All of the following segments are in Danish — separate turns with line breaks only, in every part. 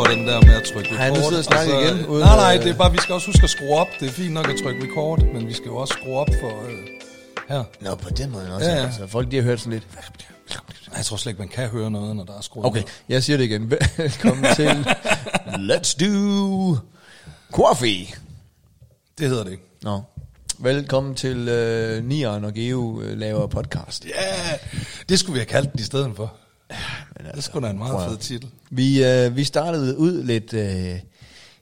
at trykke record.
Ej, nu sidder jeg og snakker igen, uden
nej, nej,
at-
det er bare, vi skal også huske at skrue op. Det er fint nok at trykke record, men vi skal jo også skrue op for... Øh, her.
Nå, på den måde også.
Ja,
Ja,
ja.
ja. Altså, folk de har hørt sådan lidt.
Ej, Jeg tror slet ikke, man kan høre noget, når der er skruet
Okay,
ned.
jeg siger det igen. Velkommen til Let's Do Coffee.
Det hedder det ikke.
Nå. Velkommen til øh, Nieren og Geo øh, laver podcast.
Ja, yeah! det skulle vi have kaldt den i stedet for.
Men
Det
altså,
skulle da en meget
prøv at-
fed titel.
Vi, øh, vi startede ud lidt, øh,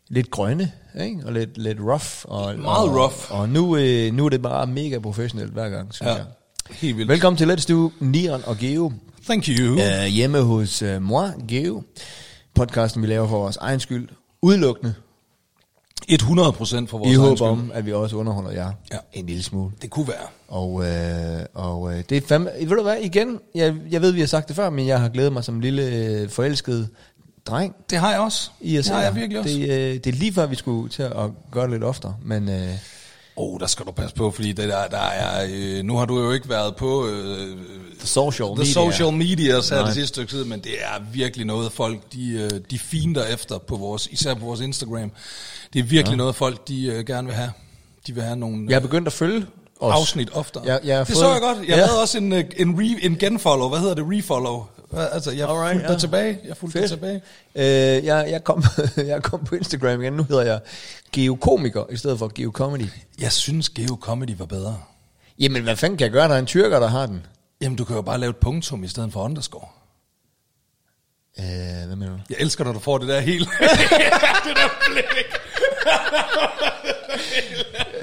lidt grønne, ikke? og lidt, lidt rough. Og,
Meget
og,
rough.
Og nu, øh, nu er det bare mega professionelt hver gang, synes ja.
Ja,
jeg.
helt vildt.
Velkommen til Let's Do Nieren og Geo.
Thank you. Yeah.
øh, hjemme hos øh, Moi, Geo. Podcasten, vi laver for vores egen skyld. Udelukkende.
100 procent for vores
I
egen
håb
skyld.
om, at vi også underholder jer
Ja.
ja. en lille smule.
Det kunne være.
Og, øh, og øh, det er fandme... Ved du hvad, igen, jeg, jeg ved, vi har sagt det før, men jeg har glædet mig som lille øh, forelsket dreng
Det har jeg også.
i at
det
se
har jeg
jer.
virkelig også.
Det, øh, det er lige før, vi skulle til at gøre det lidt oftere, men... Øh,
Åh, oh, der skal du passe på, fordi det der, der er, øh, nu har du jo ikke været på øh,
the social
the social medias her
Nej.
det sidste stykke tid, men det er virkelig noget, folk de, øh, de finder efter, på vores, især på vores Instagram. Det er virkelig ja. noget, folk de øh, gerne vil have. De vil have nogle
Jeg
øh,
er begyndt at følge os.
afsnit oftere.
Jeg- jeg har
det
fået-
så jeg godt. Jeg
Ja.
ja. lavede også en, øh, en, re, en genfollow. Hvad hedder det? Refollow. Hva- Altså, jeg
Alright,
Alright, fulgte
ja.
dig tilbage. Jeg fulgte dig
Fedt.
tilbage.
Øh, jeg, jeg, kom, jeg kom på Instagram igen. Nu hedder jeg Geokomiker i stedet for Geocomedy.
Jeg synes, Geo Comedy var bedre.
Jamen, hvad fanden kan jeg gøre? Der er en tyrker, der har den.
Jamen, du kan jo bare lave et punktum i stedet for underscore.
Øh, hvad mener du?
Jeg elsker, når du får det der helt...
Øh,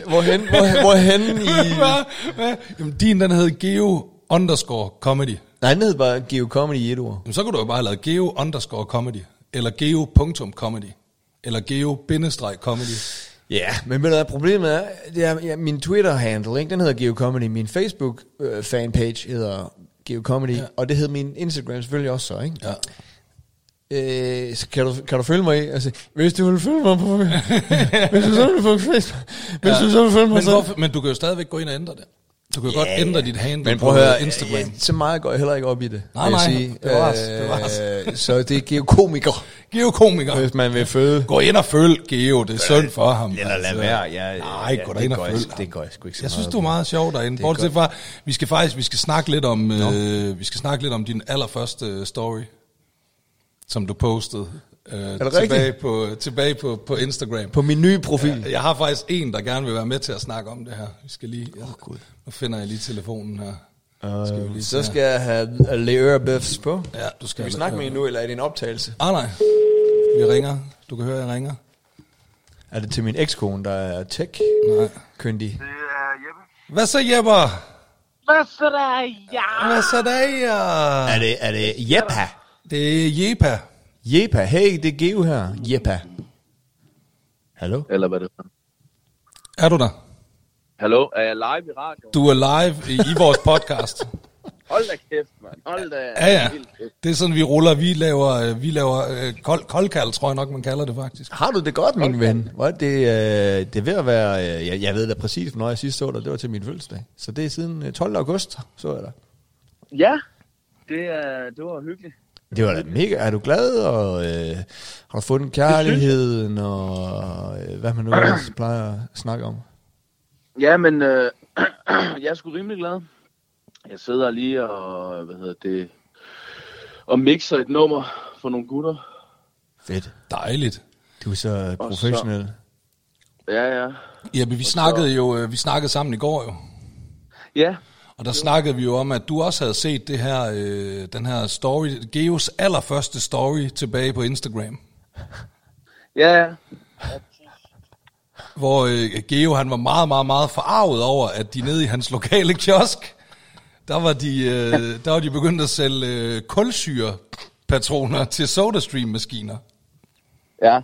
Hvorhen, hvor, hvorhen i...
Hvad? Hvad? Jamen, din den hed Geo underscore comedy.
Nej, den hed bare Geocomedy i et ord.
Jamen, så kunne du jo bare have lavet Geo underscore comedy. Eller Geo punktum comedy. Eller Geo bindestreg comedy.
Ja, yeah. men ved du hvad, problemet er, det er ja, min Twitter-handle, ikke? den hedder Geocomedy. Min Facebook-fanpage øh, hedder Geocomedy, ja. og det hed min Instagram selvfølgelig også så, ikke?
Ja.
Øh, så kan du, kan du følge mig i? Altså, hvis du vil følge mig på... hvis du så vil på Facebook... Hvis du så vil følge mig
men,
så...
hvorfor, men du kan jo stadigvæk gå ind og ændre det. Du kan jo godt ændre dit handle
Men
på
prøv at høre,
Instagram.
Ja, så meget går jeg heller ikke op i det.
Nej,
vil jeg
nej,
sige.
bevares, bevares.
Øh, så det er geokomiker,
Geo komiker.
hvis man vil følge.
Gå ind og følg Geo, det er synd for ham. altså.
Ja,
Nej, gå da ind og følg ham.
går jeg sgu ikke så
Jeg synes, du er meget sjov derinde. Bortset fra, vi skal faktisk vi skal snakke lidt om, øh, vi skal snakke lidt om din allerførste øh, story, som du postede øh,
det
tilbage,
rigtigt?
på, tilbage på, på Instagram.
På min nye profil.
Mm. Jeg har faktisk en, der gerne vil være med til at snakke om det her. Vi skal lige, jeg,
Gud.
nu finder jeg lige telefonen her.
Ja,
vi lige
Øh,
se
så skal jeg have Leør Bøfs på.
Ja, du skal
Skal vi
have-
snakke med hende nu, eller er det en optagelse?
Ah nej, vi ringer. Du kan høre, jeg ringer.
Er det til min ekskone, der er
Nej.
tech-kyndig?
Det er Jeppe.
Hvad så, Jepper?
Hvad så der er jeg?
Hvad så der?
Er det, er det Jeppa?
Det er Jepa.
Jeppa, hey, det er Geo her. Jeppa. Hallo?
Eller hvad det er.
Er du der?
Hallo, er jeg live i radioen?
Du er live i, i vores podcast.
Hold da kæft, mand. Hold da.
Ja, ja. Det er sådan, vi ruller. Vi laver, øh, vi laver øh, kold, koldkald, tror jeg nok, man kalder det faktisk.
Har du det godt, min ven? Hvor er det, øh, det er ved at være... Øh, jeg, jeg ved da præcis, når jeg sidst så dig. Det var til min fødselsdag. Så det er siden øh, 12. august, så jeg dig.
Ja, det, er, det var hyggeligt.
Det var da mega... Er du glad, og øh, har du fundet kærligheden, og øh, hvad man nu ellers plejer at snakke om?
Ja, men øh, jeg er sgu rimelig glad. Jeg sidder lige og, hvad hedder det, og mixer et nummer for nogle gutter.
Fedt.
Dejligt.
Du er så
Og så-
professionel.
Ja, ja.
Ja, men vi snakkede jo øh, vi snakkede sammen i går jo.
Ja,
Og der snakkede vi jo om, at du også havde set det her, øh, den her story, Geos allerførste story tilbage på Instagram.
ja, ja.
Hvor øh, Geo, han var meget, meget, meget forarvet over, at de nede i hans lokale kiosk, der var de, øh, der var de begyndt at sælge øh, kulsyrepatroner til SodaStream-maskiner.
ja.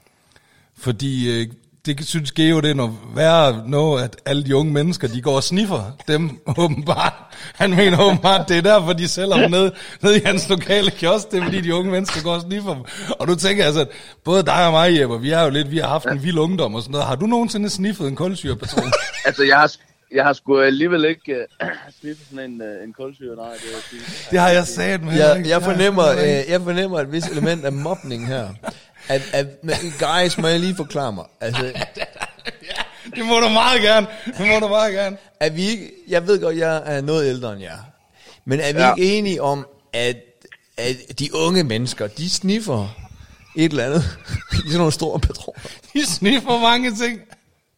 Fordi øh, det synes Geo, det er noget værre noget, at alle de unge mennesker, de går og sniffer dem åbenbart. Han mener åbenbart, det er derfor, de sælger dem ned, ned i hans lokale kiosk. Det er fordi, de unge mennesker går og sniffer dem. Og nu tænker jeg altså, at både dig og mig, Jeppe, vi er jo lidt, vi har haft en vild ungdom og sådan noget. Har du nogensinde sniffet en kulsyrepatron?
Altså, jeg har, jeg har sgu alligevel ikke uh, sniffet sådan en, uh, en koldsyre, nej, det vil jeg sige.
Det har jeg sagt med.
Jeg, jeg, fornemmer, øh, jeg fornemmer et vis element af mobning her. At, at, men guys, må jeg lige forklare mig? Altså,
Det må du meget gerne. Det må du meget gerne.
er vi ikke, jeg ved godt, jeg er noget ældre end jer, men er vi
Ja.
ja. ikke enige om, at, at de unge mennesker, de sniffer et eller andet i sådan nogle store patroner?
De sniffer mange ting.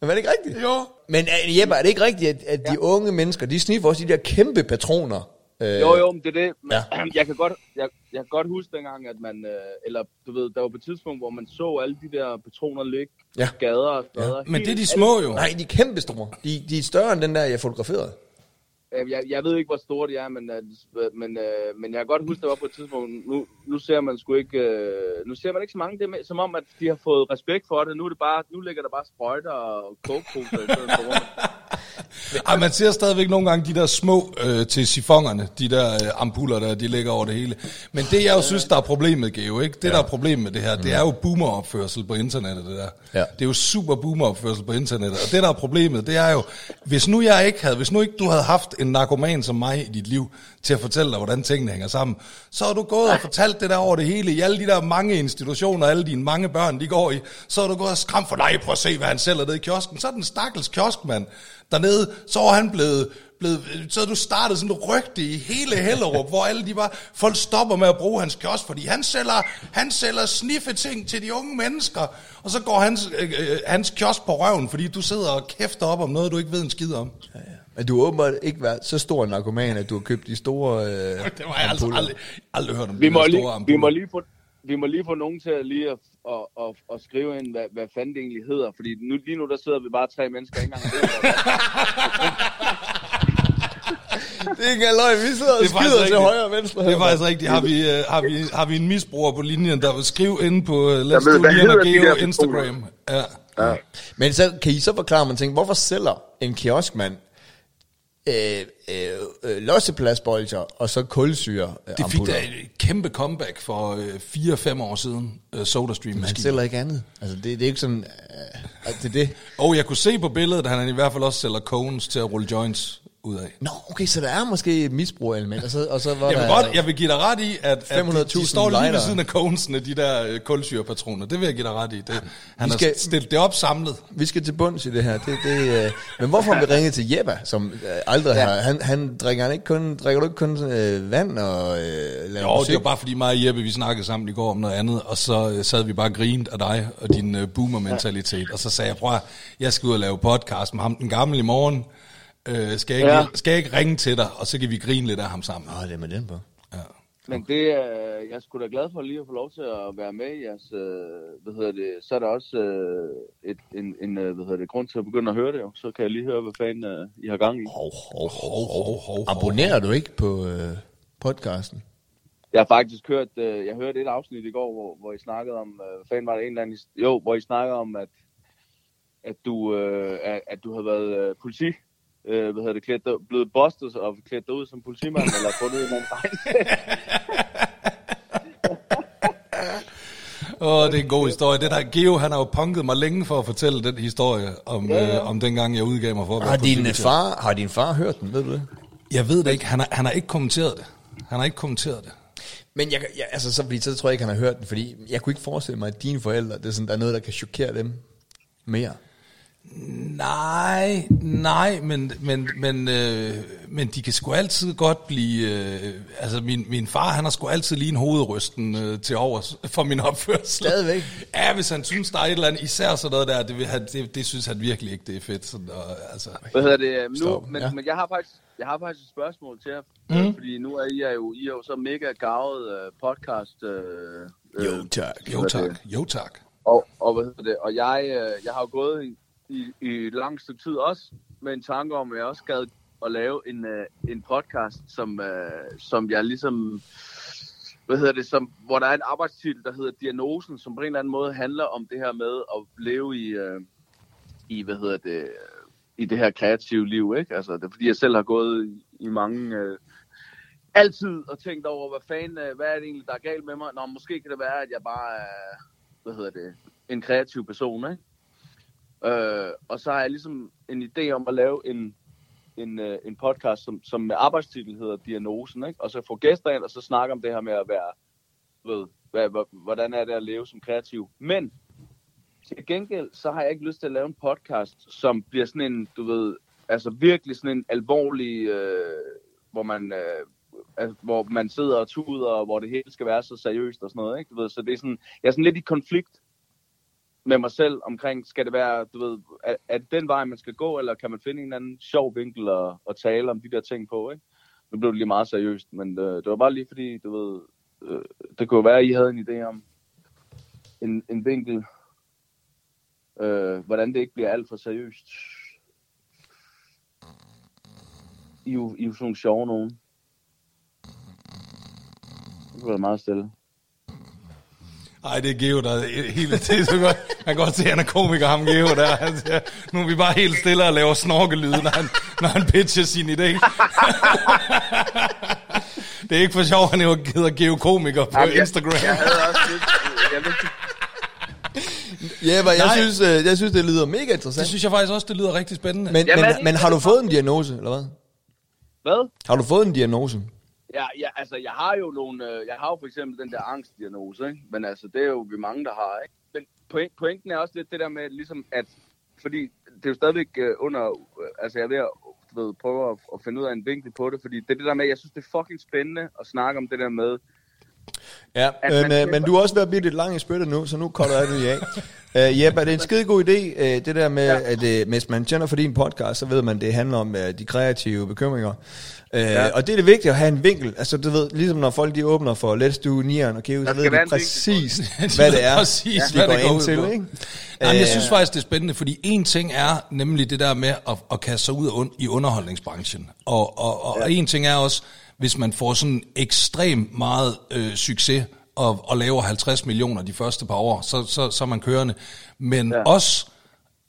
Men er det ikke rigtigt?
Jo.
Men øh, Jeppe, er det ikke rigtigt, at, at de unge mennesker, de sniffer også de der kæmpe patroner? Øh,
Jo, jo, men det er det.
Ja.
Ja. Jeg, kan godt, jeg, jeg kan godt huske dengang, at man, øh, eller du ved, der var på et tidspunkt, hvor man så alle de der patroner ligge,
Ja.
ja. skader og skader. Ja.
Men det er de små jo.
Nej, de er kæmpe store. De, de er større end den der, jeg fotograferede.
Jeg, jeg ved ikke, hvor store de er, men, øh, men, øh, men jeg kan godt huske, der var på et tidspunkt, nu, nu ser man sgu ikke, øh, nu ser man ikke så mange, det er med, som om, at de har fået respekt for det. Nu, er det bare, nu ligger der bare sprøjter og kogeposer i stedet for rundt.
Ej, man ser stadigvæk nogle gange de der små øh, til sifongerne, de der øh, ampuller, der de ligger over det hele. Men det, jeg jo synes, der er problemet, Geo, ikke? Det, der er problemet med det her, det er jo boomeropførsel på internettet, det der.
Ja.
Det er jo super boomeropførsel på internettet. Og det, der er problemet, det er jo, hvis nu jeg ikke havde, hvis nu ikke du havde haft en narkoman som mig i dit liv til at fortælle dig, hvordan tingene hænger sammen, så har du gået og fortalt det der over det hele, i alle de der mange institutioner, alle dine mange børn, de går i, så har du gået og skram for dig, prøv at se, hvad han sælger nede i kiosken. Så er den stakkels kioskmand dernede, så er han blevet blevet, så havde du startet sådan et rygte i hele Hellerup, hvor alle de bare, folk stopper med at bruge hans kiosk, fordi han sælger, han sælger sniffeting til de unge mennesker, og så går hans, øh, øh, hans kiosk på røven, fordi du sidder og kæfter op om noget, du ikke ved en skid om.
Ja, ja. Men du har åbenbart ikke været så stor en narkoman, at du har købt de store... Øh,
Det var jeg altså
ampuller.
aldrig, aldrig hørt om.
vi
de der
må,
store
lige, vi,
ampuller.
må lige få, vi må lige få nogen til at lige at, at, at, at skrive ind, hvad, hvad fanden det egentlig hedder. Fordi nu, lige nu, der sidder vi bare tre mennesker, ikke engang ved, hvad det er.
Det er ikke engang løgn, vi sidder og
Det er faktisk
skyder til
rigtigt.
højre og venstre.
Det er faktisk rigtigt. Har vi, øh, har, vi, har vi en misbruger på linjen, der vil skrive ind på uh,
Jeg
Let's
ved,
Do
hvad
Leon
hedder
og
de der
Geo
personer?
Instagram. Ja.
Men så kan I så forklare mig en ting. Hvorfor sælger en kioskmand øh, øh, øh, lossepladsbolger og så kulsyre øh,
Det fik
ampuller?
da et kæmpe comeback for øh, 4-5 år siden, øh, SodaStream.
Men han
maskinen.
sælger ikke andet. Altså, det, det er ikke sådan... Øh, at det er det.
Og jeg kunne se på billedet, at han i hvert fald også sælger cones til at rulle joints ud af.
Nå, okay, så der er måske et misbrug element. Og så, og så var
Jeg vil,
der,
godt, jeg vil give dig ret i, at, at de,
500.000
de står lige ved
lightere.
siden af conesene, de der øh, kulsyrepatroner. Det vil jeg give dig ret i. Det, han
vi
har
skal-
stillet det op samlet.
Vi skal til bunds i det her. Det, det, øh, men hvorfor har vi ringet til Jeppe, som øh, aldrig ja. har... Han, han drikker han ikke kun, drikker du ikke kun øh, vand og øh, laver
Jo,
musik?
det var bare fordi mig og Jeppe, vi snakkede sammen i går om noget andet, og så øh, sad vi bare og grinede af dig og din øh, boomer-mentalitet. Og så sagde jeg, prøv at- jeg skal ud og lave podcast med ham den gamle i morgen. Øh, skal, jeg ikke,
Ja.
skal jeg ikke ringe til dig, og så kan vi grine lidt af ham sammen.
Åh, det er med den på.
Men det er, jeg er sgu da glad for lige at få lov til at være med i jeres, øh, hvad hedder det, så er der også øh, et, en, en, øh, hvad hedder det, grund til at begynde at høre det jo. Så kan jeg lige høre, hvad fanden øh, I har gang i.
Hov, hov, hov,
Hov, hov, hov, hov.
Abonnerer du ikke på øh, podcasten?
Jeg har faktisk hørt, øh, jeg hørte et afsnit i går, hvor, hvor I snakkede om, øh, hvad fanden var det en eller anden, his- jo, hvor I snakkede om, at, at du, øh, at, at du havde været øh, politi, øh, hvad hedder det, klædt, dig- blevet bustet og klædt dig ud som politimand, eller fundet en eller anden fejl.
Åh, det er en god historie. Det der, Geo, han har jo punket mig længe for at fortælle den historie om, ja, ja. Øh, om dengang, jeg udgav mig for at
Har
være
din, øh,
politibetjent.
far, har din far hørt den, ved du det?
Jeg ved det ikke. Han har, han har ikke kommenteret det. Han har ikke kommenteret det.
Men jeg, kan- jeg, altså, så, fordi, så tror jeg ikke, han har hørt den, fordi jeg kunne ikke forestille mig, at dine forældre, det er sådan, der er noget, der kan chokere dem mere.
Nej, nej, men, men, men, øh, men de kan sgu altid godt blive... Øh, altså, min, min far, han har sgu altid lige en hovedrysten øh, til overs for min opførsel.
Stadigvæk?
Ja, hvis han synes, der er et eller andet, især sådan noget der, det, vil han, det, det synes han virkelig ikke, det er fedt. Sådan, og, altså.
Hvad hedder det? øhm, Nu,
Stop,
men,
ja.
ja. men jeg har faktisk, jeg har faktisk et spørgsmål til jer, mm. fordi nu er I er jo, I er jo så mega gavet øh, podcast. Øh, øh,
tak.
Jo tak, jo tak.
og, og hvad hedder det? Og jeg, øh, jeg har jo gået i, i, i et langt stykke tid også med en tanke om, at jeg også gad at lave en, øh, en podcast, som, øh, som jeg ligesom hvad hedder det, som, hvor der er en arbejdstitel, der hedder Diagnosen, som på en eller anden måde handler om det her med at leve i, øh, i hvad hedder det, øh, i det her kreative liv, ikke? Altså, det er fordi, jeg selv har gået i, i mange, øh, altid og tænkt over, hvad fanden, øh, hvad er det egentlig, der er galt med mig? Nå, måske kan det være, at jeg bare er, hvad hedder det, en kreativ person, ikke? Øh, og så har jeg ligesom en idé om at lave en, en, øh, en podcast, som, som med arbejdstitel hedder Diagnosen, ikke? Og så få gæster ind, og så snakke om det her med at være, du ved, hvad, hvor- hvordan er det at leve som kreativ. Men til gengæld, så har jeg ikke lyst til at lave en podcast, som bliver sådan en, du ved, altså virkelig sådan en alvorlig, øh, hvor man... Øh, altså, hvor man sidder og tuder, og hvor det hele skal være så seriøst og sådan noget, ikke? Du ved, så det er sådan, jeg er sådan lidt i konflikt med mig selv omkring, skal det være, du ved, er, er det den vej, man skal gå, eller kan man finde en eller anden sjov vinkel og, og tale om de der ting på, ikke? Nu blev det lige meget seriøst, men øh, det var bare lige fordi, du ved, øh, det kunne jo være, at I havde en idé om en, en vinkel, øh, hvordan det ikke bliver alt for seriøst. I er jo, I er jo sådan nogle sjove nogen. Det var meget stille.
Ej, det er Geo, der er hele tiden. så godt. Man kan godt se, at han er komiker, ham Geo der. Han siger, nu er vi bare helt stille og laver snorkelyde, når han, når han pitcher sin idé. det er ikke for sjov, han jo hedder Geo Komiker på
Jamen, jeg-
Instagram.
Jeg havde også lidt, jeg vidste,
Ja, men jeg
Nej.
synes, øh, jeg synes, det lyder mega interessant.
Det synes jeg faktisk også, det lyder rigtig spændende.
Men,
Men,
Ja, hvad er
men,
det?
men har du fået en diagnose, eller hvad?
hvad?
Har du fået en diagnose?
Ja, ja, altså, jeg har jo nogle, øh, jeg har jo for eksempel den der angstdiagnose, ikke? men altså, det er jo vi mange, der har, ikke? Men point, pointen er også lidt det der med, ligesom at, fordi det er jo stadigvæk øh, under, øh, altså, jeg er ved at du ved, prøve at, at finde ud af en vinkel på det, fordi det er det der med, jeg synes, det er fucking spændende at snakke om det der med,
Ja,
At
øh,
man
men,
køber-
men du er også ved at blive lidt lang i spyttet nu, så nu cutter jeg det lige af. Øh, Jeppe, er det en skide god idé, øh, det der med, ja.
Ja.
at øh, hvis man tænder for din podcast, så ved man, det handler om øh, de kreative bekymringer. Øh, ja.
Ja.
Og det er det vigtige at have en vinkel. Altså, du ved, ligesom når folk de åbner for Let's Do Nieren og Kæve, så
Der
ved
skal
de
være en vinkel på
præcis,
det.
hvad det er,
Præcis,
de
hvad
går
det går
ind
ud
til.
på.
Ikke?
Jamen,
Øh,
jeg synes faktisk, det er spændende, fordi en ting er nemlig det der med at, at kaste sig ud af un- i underholdningsbranchen. Og, og, og, ja. og en ting er også, hvis man får sådan ekstremt meget øh, succes og, og laver 50 millioner de første par år, så, så, så er man kørende. Men ja.
Ja.
også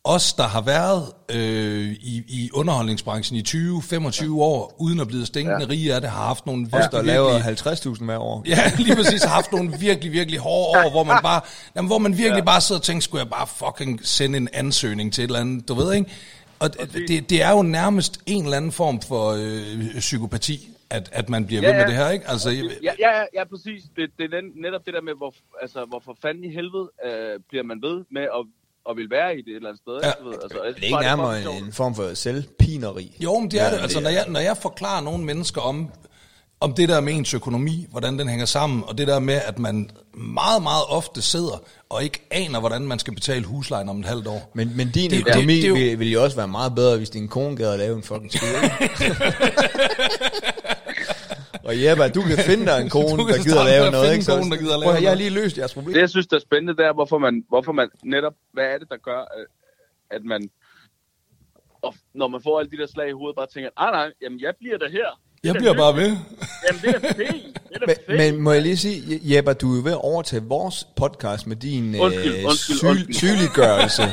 os, der har været øh, i, i underholdningsbranchen i 20-25 ja. år, uden at blive stinkende ja. rige af det, har haft nogle
Os, der
virkelig-
laver
virkelig-
50.000 hver år.
Ja, lige præcis. Har haft nogle virkelig, virkelig hårde år, hvor man bare, jamen, hvor man virkelig ja. bare sidder og tænker, skulle jeg bare fucking sende en ansøgning til et eller andet, du ved, ikke? Og det- det, det er jo nærmest en eller anden form for øh, psykopati, at, at man bliver ja,
Ja,
ved med
ja.
det her, ikke? Altså, jeg,
ja, ja, ja, ja præcis. Det, det er net- netop det der med, hvor, altså, hvorfor fanden i helvede øh, bliver man ved med at, at vil være i det et eller andet sted.
Ja.
ikke? Du ved, altså, jeg
Det
synes
er ikke
bare, fucking
nærmere en,
sjovt.
en form for selvpineri.
jo, men det er
Ja,
det. Altså, når jeg, når jeg forklarer nogle mennesker om, om det der med ens økonomi, hvordan den hænger sammen, og det der med, at man meget, meget ofte sidder og ikke aner, hvordan man skal betale huslejen om et halvt år.
Men, men din
Det-
det, økonomi
det-
det,
det er jo-
det, ville, ville jo også være meget bedre, hvis din kone gad at lave en fucking skole. og Jeppe, du kan finde dig en
Du
kone,
kan
der gider at
starte med
lave
at
noget.
finde
Ikke? Så,
en kone, der gider at lave
prøv, at høre, jeg har
noget.
lige løst jeres problem.
det, jeg synes, der er spændende, det er, hvorfor man, hvorfor man netop, hvad er det, der gør, øh, at man, og når man får alle de der slag i hovedet, bare tænker, nej, nej, jamen jeg bliver der her. Det
Jeg
er da
bliver bare
hyggeligt.
ved.
Jamen det er da fint. Det er da
Men,
fint.
men må jeg lige sige, Je- Jeppe, du er jo ved at overtage vores podcast med din øh,
Undskyld, undskyld, undskyld.
sygeliggørelse.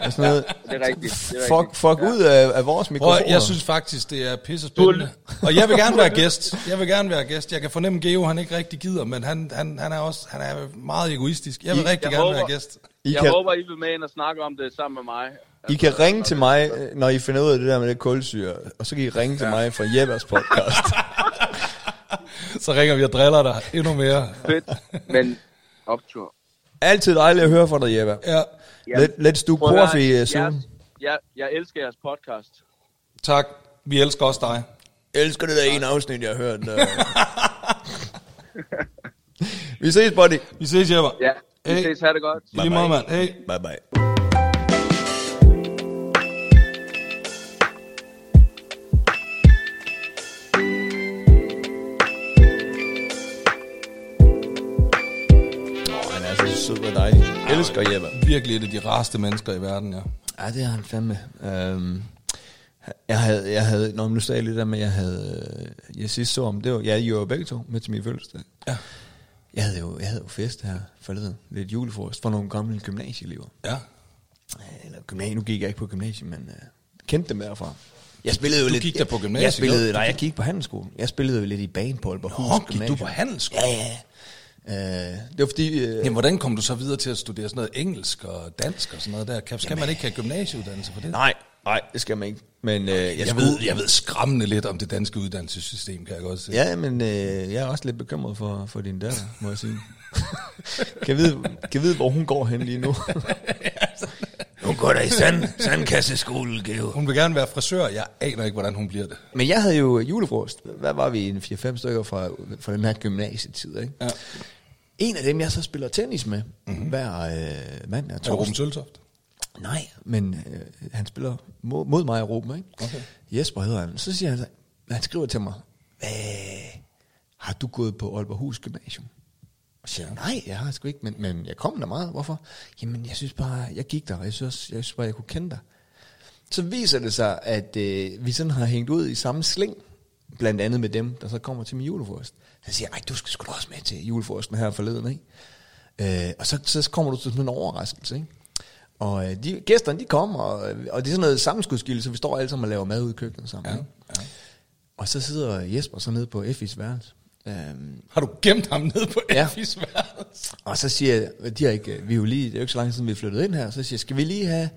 og sådan noget.
det er rigtigt, det er
Fuck,
rigtigt.
fuck ud af, af vores
Prøv,
mikrofoner.
at- jeg synes faktisk, det er pisse spændende. Og jeg vil gerne være gæst. Jeg vil gerne være gæst. Jeg kan fornemme, Geo han ikke rigtig gider, men han, han, han er også han er meget egoistisk. Jeg vil
I-
rigtig
Jeg
gerne
håber-
være gæst.
I
jeg
kan-
håber, I vil med ind og snakke om det sammen med mig. Altså,
I kan ringe til mig, øh, når I finder ud af det der med det kulsyre, og så kan I ringe til mig fra Jeppers podcast.
Så ringer vi og driller dig endnu mere.
Fedt, men optur.
Altid dejligt at høre fra dig, Jeppe.
Ja,
Ja.
Let, let's do
Prøv at høre,
porfi uh, soon.
jeres- Jeg, jeg elsker jeres podcast.
tak. Vi elsker også dig.
Jeg elsker det der ene afsnit, jeg har hørt. øh. Vi ses, buddy.
Vi ses, Jepper.
Ja, vi
Hey.
ses, ha' det godt.
Lige meget, mand. Hey.
Bye bye. Åh, han er så sød og dejlig. Jeg elsker Jeppe.
Virkelig et af de rareste mennesker i verden, ja.
Ja, det er han fandme. Øhm, jeg havde, jeg havde, når nu sagde jeg lidt der med, jeg havde, øh, jeg sidst så om, det var, ja, I var jo begge to med til min fødselsdag.
Ja.
Jeg havde jo, jeg havde jo fest her forleden, lidt julefrokost for nogle gamle gymnasieelever.
Ja.
Øh, Eller gymnasie, nu gik jeg ikke på gymnasiet, men øh, kendte dem derfra. Jeg spillede jo
Du
lidt,
gik da på gymnasiet,
Jeg spillede,
jo.
nej, jeg gik på handelsskolen. Jeg spillede jo lidt i banen på Aalborg
Nå, gik du på handelsskole?
Ja, ja. Øh, det var fordi, øh,
Jamen, hvordan kom du så videre til at studere sådan noget engelsk og dansk og sådan noget der? Kan, skal man ikke have gymnasieuddannelse for det?
Nej, Nej, det skal man ikke. Men øh, jeg,
Jeg ved, jeg ved skræmmende lidt om det danske uddannelsessystem, kan jeg godt se.
Ja, men øh, jeg er også lidt bekymret for, for din datter, må jeg sige. kan, jeg vide, kan jeg vide, hvor hun går hen lige nu? hun går da i sand, sandkasseskole, Geo.
Hun vil gerne være frisør, jeg aner ikke, hvordan hun bliver det.
Men jeg havde jo julefrost. Hvad var vi? En 4-5 stykker fra, fra den her gymnasietid, ikke?
Ja.
En af dem, jeg så spiller tennis med, mm-hmm. hver øh, mandag og
Er det Ruben
torsdag.
Søltoft?
Nej, men øh, han spiller mod, mod mig i Ruben, ikke?
Okay.
Jesper hedder han. Så siger han, så- han skriver til mig, "Hvad, har du gået på Aalborghus Gymnasium? Og siger, jeg, nej, jeg har sgu ikke, men, men jeg kom der meget. Hvorfor? Jamen, jeg synes bare, jeg gik der, og jeg synes, også, jeg synes bare, jeg kunne kende dig. Så viser det sig, at øh, vi sådan har hængt ud i samme sling, blandt andet med dem, der så kommer til min julefrokost. Så siger jeg, "Ej, du skal sgu da også med til julefrokosten her forleden, ikke? Øh, og så, så kommer du til sådan en overraskelse, ikke? Og øh, de, gæsterne, de kommer, og, øh, og det er sådan noget sammenskudskilde, så vi står alle sammen og laver mad ude i køkkenet sammen. Ja, ja. Og så sidder Jesper så nede på Effis værelse. Øhm,
Har du gemt ham nede på
Ja.
ja. Effis værelse?
og så siger jeg, de har ikke, vi er jo lige, det er jo ikke så lang tid siden, vi er flyttet ind her, så siger jeg, skal vi lige have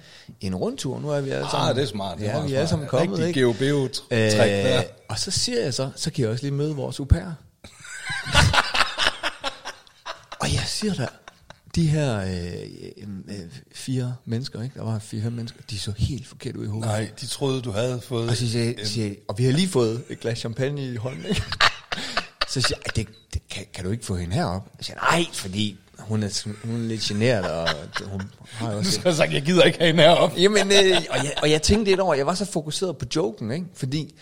en rundtur? Nu er vi alle
Ah,
sammen.
det er smart. Det er
ja,
meget
vi er alle
smart.
sammen kommet,
Rigtig
ikke? Øh,
GeoBeo-træk der.
og så siger jeg så, så kan jeg også lige møde vores au pair. og jeg siger da, de her øh, øh, øh, fire mennesker, ikke? der var fire-fem mennesker, de så helt forkert ud i hovedet.
Nej, de troede, du havde fået...
Og, så siger,
en-
jeg, siger, jeg, og vi har lige fået et glas champagne i hånden, ikke? Så siger jeg, "Ej, det, det kan, kan, du ikke få hende herop? Jeg siger, nej, fordi hun er, sådan- hun er lidt generet, og det- hun har jo
Nu
også...
skal jeg sagt, jeg gider ikke have hende heroppe.
Jamen, øh, og, jeg, og jeg tænkte lidt over, jeg var så fokuseret på joken, ikke? Fordi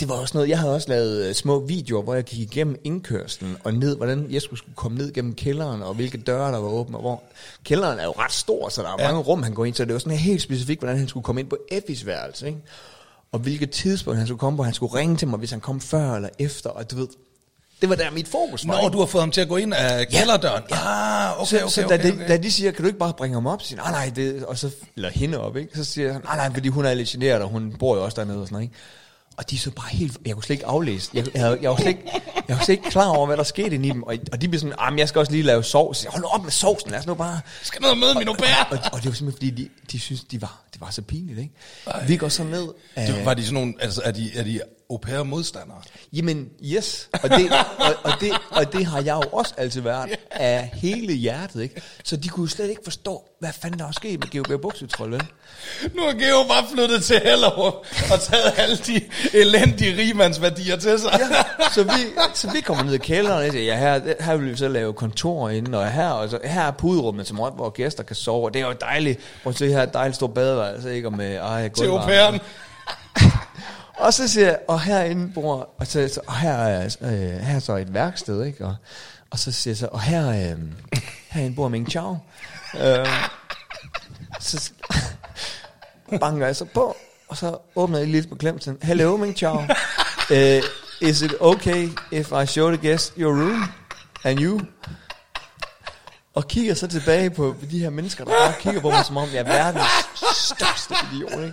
det var også noget, jeg havde også lavet øh, små videoer, hvor jeg gik igennem indkørslen og ned, hvordan jeg skulle skulle komme ned gennem kælderen, og hvilke døre, der var åbne, og hvor... Kælderen er jo ret stor, så der er ja. mange rum, han går ind, så det var sådan helt specifikt, hvordan han skulle komme ind på Effis værelse, ikke? Og hvilket tidspunkt han skulle komme på, han skulle ringe til mig, hvis han kom før eller efter, og du ved... Det var der mit fokus var. ikke?
Nå, du har fået ham til at gå ind af kælderdøren. Ja. Ah, okay,
så,
okay, okay,
så da,
okay,
de, da de siger, kan du ikke bare bringe ham op? Så siger, jeg, nej, nej, det, og så, eller hende op, ikke? Så siger han, "Ah, nej, nej, fordi hun er lidt generet, og hun bor jo også dernede og sådan noget, ikke? Og de er så bare helt, jeg kunne slet ikke aflæse, jeg, jeg, havde- jeg, var, slet ikke, jeg var slet ikke klar over, hvad der skete inde i dem, og, og de blev sådan, ah, men jeg skal også lige lave sovs. Så siger jeg, Hold nu op med sovsen, lad os nu bare...
Jeg skal ned og møde min au pair.
Og, og det var simpelthen, fordi de, de synes, de var, det var så pinligt, ikke? Vi går så ned...
Det, var de sådan nogle, altså, er de, er de au pair modstandere?
Jamen, yes. Og det, og, og, det, og det har jeg jo også altid været af hele hjertet, ikke? Så de kunne jo slet ikke forstå, hvad fanden der var sket med GOB Buksetrol, vel?
Nu er Geo bare flyttet til Hellerup og taget alle de elendige rimandsværdier til sig.
Ja, så vi, så vi kommer ned i kælderen, og jeg siger, ja, her, her vil vi så lave kontor inde, og her, og så, her er puderummet til morgen, hvor gæster kan sove, og det er jo dejligt. Prøv at se her, er et dejligt stort badeværelse, ikke? Og med, ej,
Til au
gulvvarme.
pairen.
Og så siger jeg, og herinde bor, og, så, så, og her, er, øh, her er så et værksted, ikke? Og, og så siger jeg så, og her, øh, herinde bor Ming Chao. Øh, så s- banker jeg så på, og så åbner jeg lige på klemsen. Hello, Ming Chao. Uh, is it okay if I show the guest your room and you? Og kigger så tilbage på de her mennesker, der bare kigger på mig, som om jeg er verdens største idiot, ikke?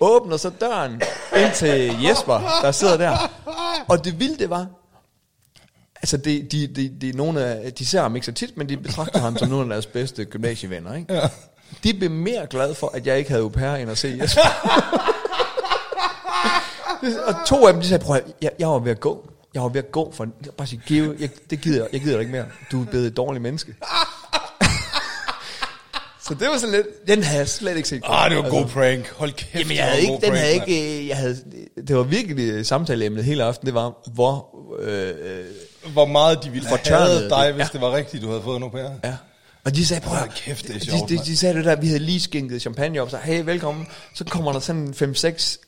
Åbner så døren ind til Jesper, der sidder der. Og det vilde det var, altså det, de, de, de, er nogle af, de ser ham ikke så tit, men de betragter ham som nogle af deres bedste gymnasievenner, ikke? Ja. De blev mere glade for, at jeg ikke havde au pair, end at se Jesper. og to af dem, de sagde, prøv at, høre, jeg, jeg var ved at gå. Jeg var ved at gå for, jeg bare sige, Geo, jeg, det gider jeg, jeg gider dig ikke mere. Du er blevet et dårligt menneske. så det var sådan lidt, den havde jeg slet ikke set. komme. Altså,
Ah, det var en god prank. Hold kæft,
Jamen,
det
jeg havde
var en
ikke,
god
den
prank,
havde
mand.
ikke, øh, jeg havde, det var virkelig øh, samtaleemnet hele aften, det var, hvor, øh, øh,
Hvor meget de ville
Fortørnet
have
det.
dig, hvis det var rigtigt, du havde fået en au pair.
ja. Og de sagde, prøv at-
Hold kæft, det er sjovt,
de, de,
mand.
de, sagde det der, vi havde lige skænket champagne op, så hey, velkommen. Så kommer der sådan 5-6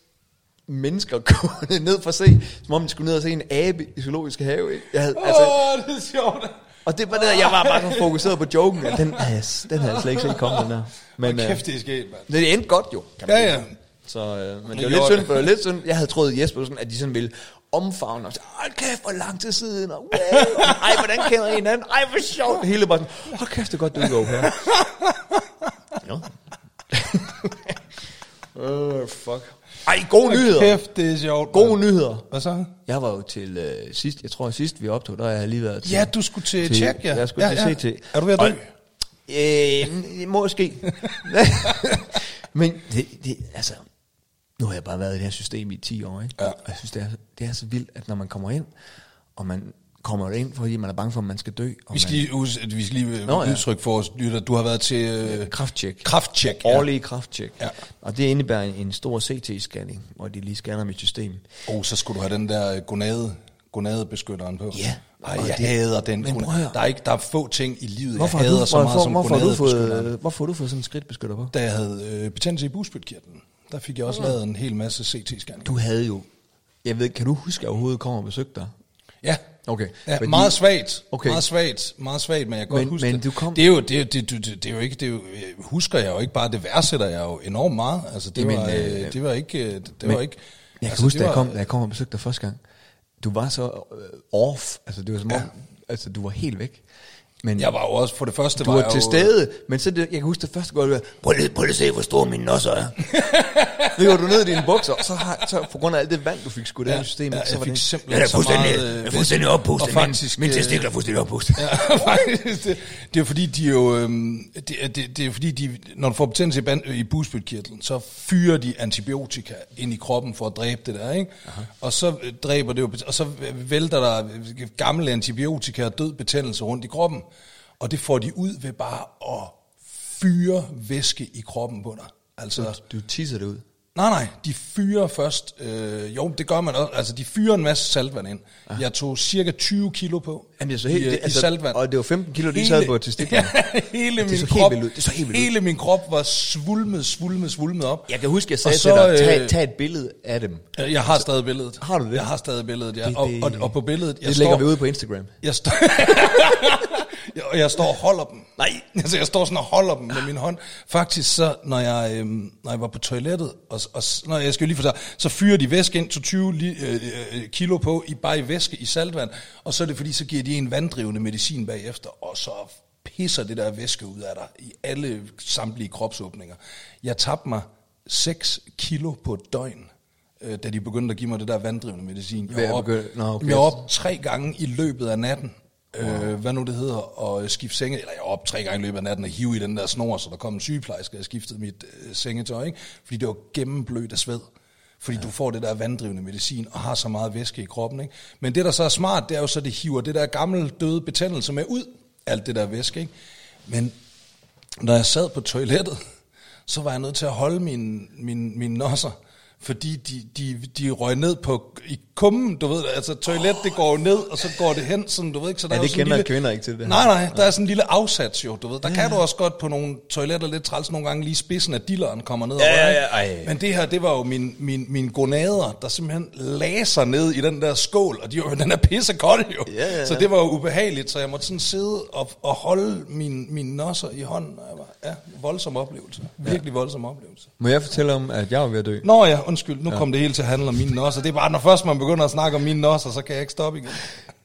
mennesker gående ned for at se, som om de skulle ned og se en abe i zoologisk have. ikke? Jeg havde,
Åh,
altså,
det er sjovt.
og det var der, jeg var bare så fokuseret på joken. at Den, havde jeg s- den havde jeg slet ikke set komme, den der. Men
Men,
øh,
kæft, det er sket, mand.
det endte godt jo, kan man
Ja,
sige.
ja.
Så, øh, men det
Det
var lidt
gjorde
synd, for det var lidt synd. Jeg havde troet Jesper, sådan, at de sådan ville omfavne os. Hold kæft, hvor lang tid siden. Og, wow. Ej, hvordan kender I hinanden? Ej, hvor sjovt. Det hele bare sådan, hold kæft, det er godt, du ikke er au pair. Ja. Øh, fuck. Ej, gode nyheder.
Kæft, det er sjovt. mand.
Gode nyheder.
Hvad så?
Jeg var jo til øh, sidst, jeg tror sidst vi optog, der har jeg lige været til...
Ja, du skulle til,
Til-
Tjek, ja.
jeg skulle
ja,
til
ja.
CT.
Er du ved at dø?
Og- Øh, måske. Men det, det, altså, nu har jeg bare været i det her system i 10 år, ikke? Ja. Og jeg synes, det er, det er så vildt, at når man kommer ind, og man kommer ind, fordi man er bange for, at man skal dø. Og
Vi skal
man,
lige, us- vi skal
Nå,
lige Nå,
ja.
udtrykke for os, lytter. Du har været til øh,
krafttjek.
krafttjek.
Årlige krafttjek.
Ja.
Og det indebærer en, en stor CT-scanning, hvor de lige scanner mit system.
Oh, så skulle du have den der øh, gonade, gonadebeskytteren på.
Ja.
Ej,
Og det-
jeg det, hader den.
Men
gonade.
prøv at høre.
der, er ikke, der er få ting i livet,
Hvorfor
jeg
har,
hader
du,
så meget
hvorfor,
som
hvorfor, har du
gonadebeskytteren.
fået, hvorfor har du fået sådan en skridtbeskytter på?
Da jeg havde øh, betændelse i bugspytkirtlen, der fik jeg også lavet en hel masse CT-scanning.
Du havde jo... Jeg ved ikke, kan du huske, at jeg overhovedet kom og besøgte dig?
Ja.
Okay.
Ja,
Fordi-
meget svagt.
Okay.
Okay. Meget svagt, meget svagt, men jeg kan godt
Men-
huske
men
det.
du kom-
Det er jo, det, er jo- det, det, det, det er jo ikke, det er jo, øh, husker jeg jo ikke bare, det værdsætter jeg jo enormt meget. Altså, det,
Jamen,
Jamen, var,
øh,
øh, det var ikke, øh, det
Men
var ikke.
Jeg kan
altså,
altså, huske,
det
da jeg,
var-
kom, da jeg kom og besøgte dig første gang, du var så øh, off, altså det var som om, ja. altså du var helt væk. Men
Jeg var jo også, for det første
du
var
var,
jeg
til
jo,
stede, men så det, jeg kan huske det første gang, du var, prøv lige, prøv lige at se, hvor store mine nosser er. Nu går du ned i dine bukser, og så, har, så på grund af alt det vand, du fik skudt ja, af i systemet,
ja,
så
jeg
var
fik
det...
simpelthen så meget... øh,
oppustet.
og faktisk, øh,
er fuldstændig oppustet.
Ja, faktisk. Det, det er fordi, de jo... øhm, Det, er- det, det er fordi, de, når du får betændelse i, band, i bugspytkirtlen, så fyrer de antibiotika ind i kroppen for at dræbe det der, ikke? Aha. Og så øh, dræber det jo... Og så vælter der gamle antibiotika og død betændelse rundt i kroppen. Og det får de ud ved bare at fyre væske i kroppen på dig. Altså,
Du tisser det ud.
Nej, nej, de fyrer først. Øh, jo, det gør man også. Altså, de fyrer en masse saltvand ind. Ja. Jeg tog cirka 20 kilo på
Jamen, jeg så helt-
i, øh,
det- altså,
i saltvand.
og det var 15 kilo, de sad på testiklerne.
hele
Det
min
så helt
krop,
vildt ud. Det så helt vildt ud.
hele min krop var svulmet, svulmet, svulmet op.
Jeg kan huske, jeg
Og
sagde
så,
til dig,
øh,
tag, tag et billede af dem.
øh, Jeg har stadig billedet.
Har du det?
Jeg har stadig billedet, ja.
Det-
og,
det-
og, og på billedet... Jeg
Det
står,
lægger vi ud på Instagram.
Jeg, står, jeg, og jeg står og holder dem.
Nej.
Altså, jeg står sådan og holder dem med min hånd. Faktisk så, når jeg, øhm, når jeg var på toilettet, og, og når jeg skal jo lige fortælle, så fyrer de væske ind til 20 li, øh, øh, kilo på, i, bare i væske i saltvand, og så er det fordi, så giver de en vanddrivende medicin bagefter, og så pisser det der væske ud af dig i alle samtlige kropsåbninger. Jeg tabte mig 6 kilo på et døgn, øh, da de begyndte at give mig det der vanddrivende medicin.
Ved
Jeg
at
var op,
begynde- Nå, okay.
jeg var op tre gange i løbet af natten, øh, hvad nu det hedder, og skifte senge, eller jeg var op tre gange i løbet af natten og hive i den der snor, så der kom en sygeplejerske, og jeg skiftede mit øh, sengetøj, ikke? fordi det var gennemblødt af sved. Fordi ja. du får det der vanddrivende medicin og har så meget væske i kroppen. Ikke? Men det, der så er smart, det er jo så, at det hiver det der gamle døde betændelse med ud, alt det der væske. Ikke? Men når jeg sad på toilettet, så var jeg nødt til at holde mine, mine, mine nosser, fordi de, de, de røg ned på, i kummen, du ved, altså toilet, det går jo ned, og så går det hen, sådan, du ved ikke, så der
Ja,
er jo
det
sådan en
kender
lille,
kvinder ikke til, det her.
Nej, nej, der er sådan en lille afsats jo, du ved, der ja. kan du også godt på nogle toiletter lidt træls nogle gange, lige spidsen af dilleren kommer ned og
Ja,
rører,
ja,
ikke?
ja, ej.
Men det her, det var jo min, min, mine gonader, der simpelthen laser ned i den der skål, og de var, den er pissekold jo.
Ja, ja, ja.
Så det var jo ubehageligt, så jeg måtte sådan sidde og, og holde mine, mine nosser i hånden. Og jeg var, ja, voldsom oplevelse. Virkelig voldsom oplevelse.
Må jeg fortælle om, at jeg var ved at dø?
Nå ja, undskyld, nu ja. kom det hele til at handle om mine nosser. Det er bare, når først man begynder at snakke om mine nosser, så kan jeg ikke stoppe igen.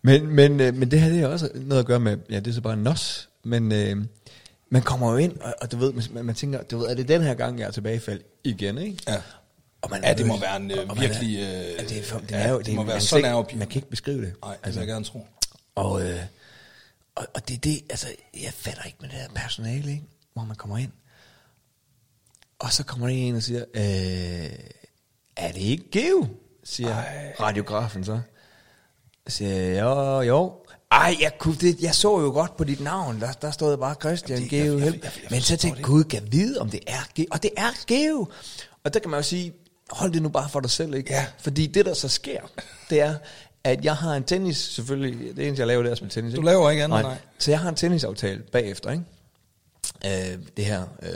Men, men, øh, men det her det er også noget at gøre med, ja, det er så bare en nos, men øh, man kommer jo ind, og, og du ved, man, man tænker, du ved, er det den her gang, jeg er tilbagefald igen, ikke?
Ja.
Og man
Ja, det må være en, øh,
og- og man er-
virkelig, øh,
ja, det, er, for- det
ja,
er jo,
det
er-
må være
man kan
så
slet ikke-
nervepirrende.
Man kan ikke beskrive det.
Nej, det altså, vil jeg gerne tro.
Og, øh, og, og det er det, altså, jeg fatter ikke med det der personale, ikke? hvor man kommer ind. Og så kommer der en og siger, øh, er det ikke Geo? Siger Ej.
Ej.
radiografen så. Så Siger jeg, jo, jo. Ej, jeg, kunne, det, jeg så jo godt på dit navn, der, der stod bare Christian
Jamen, det- jeg-
Geo.
jeg-
Hel-
jeg- jeg- jeg
Men så
forstår
tænkte
det
jeg, Gud kan vide, om det er Geo. Og det er Geo. Og der kan man jo sige, hold det nu bare for dig selv, ikke?
Ja.
Fordi det, der så sker, det er, at jeg har en tennis, selvfølgelig, det eneste, jeg laver, det er at spille tennis.
Du laver ikke andet, nej.
Så jeg har en tennisaftale bagefter, ikke? Øh, det her øh,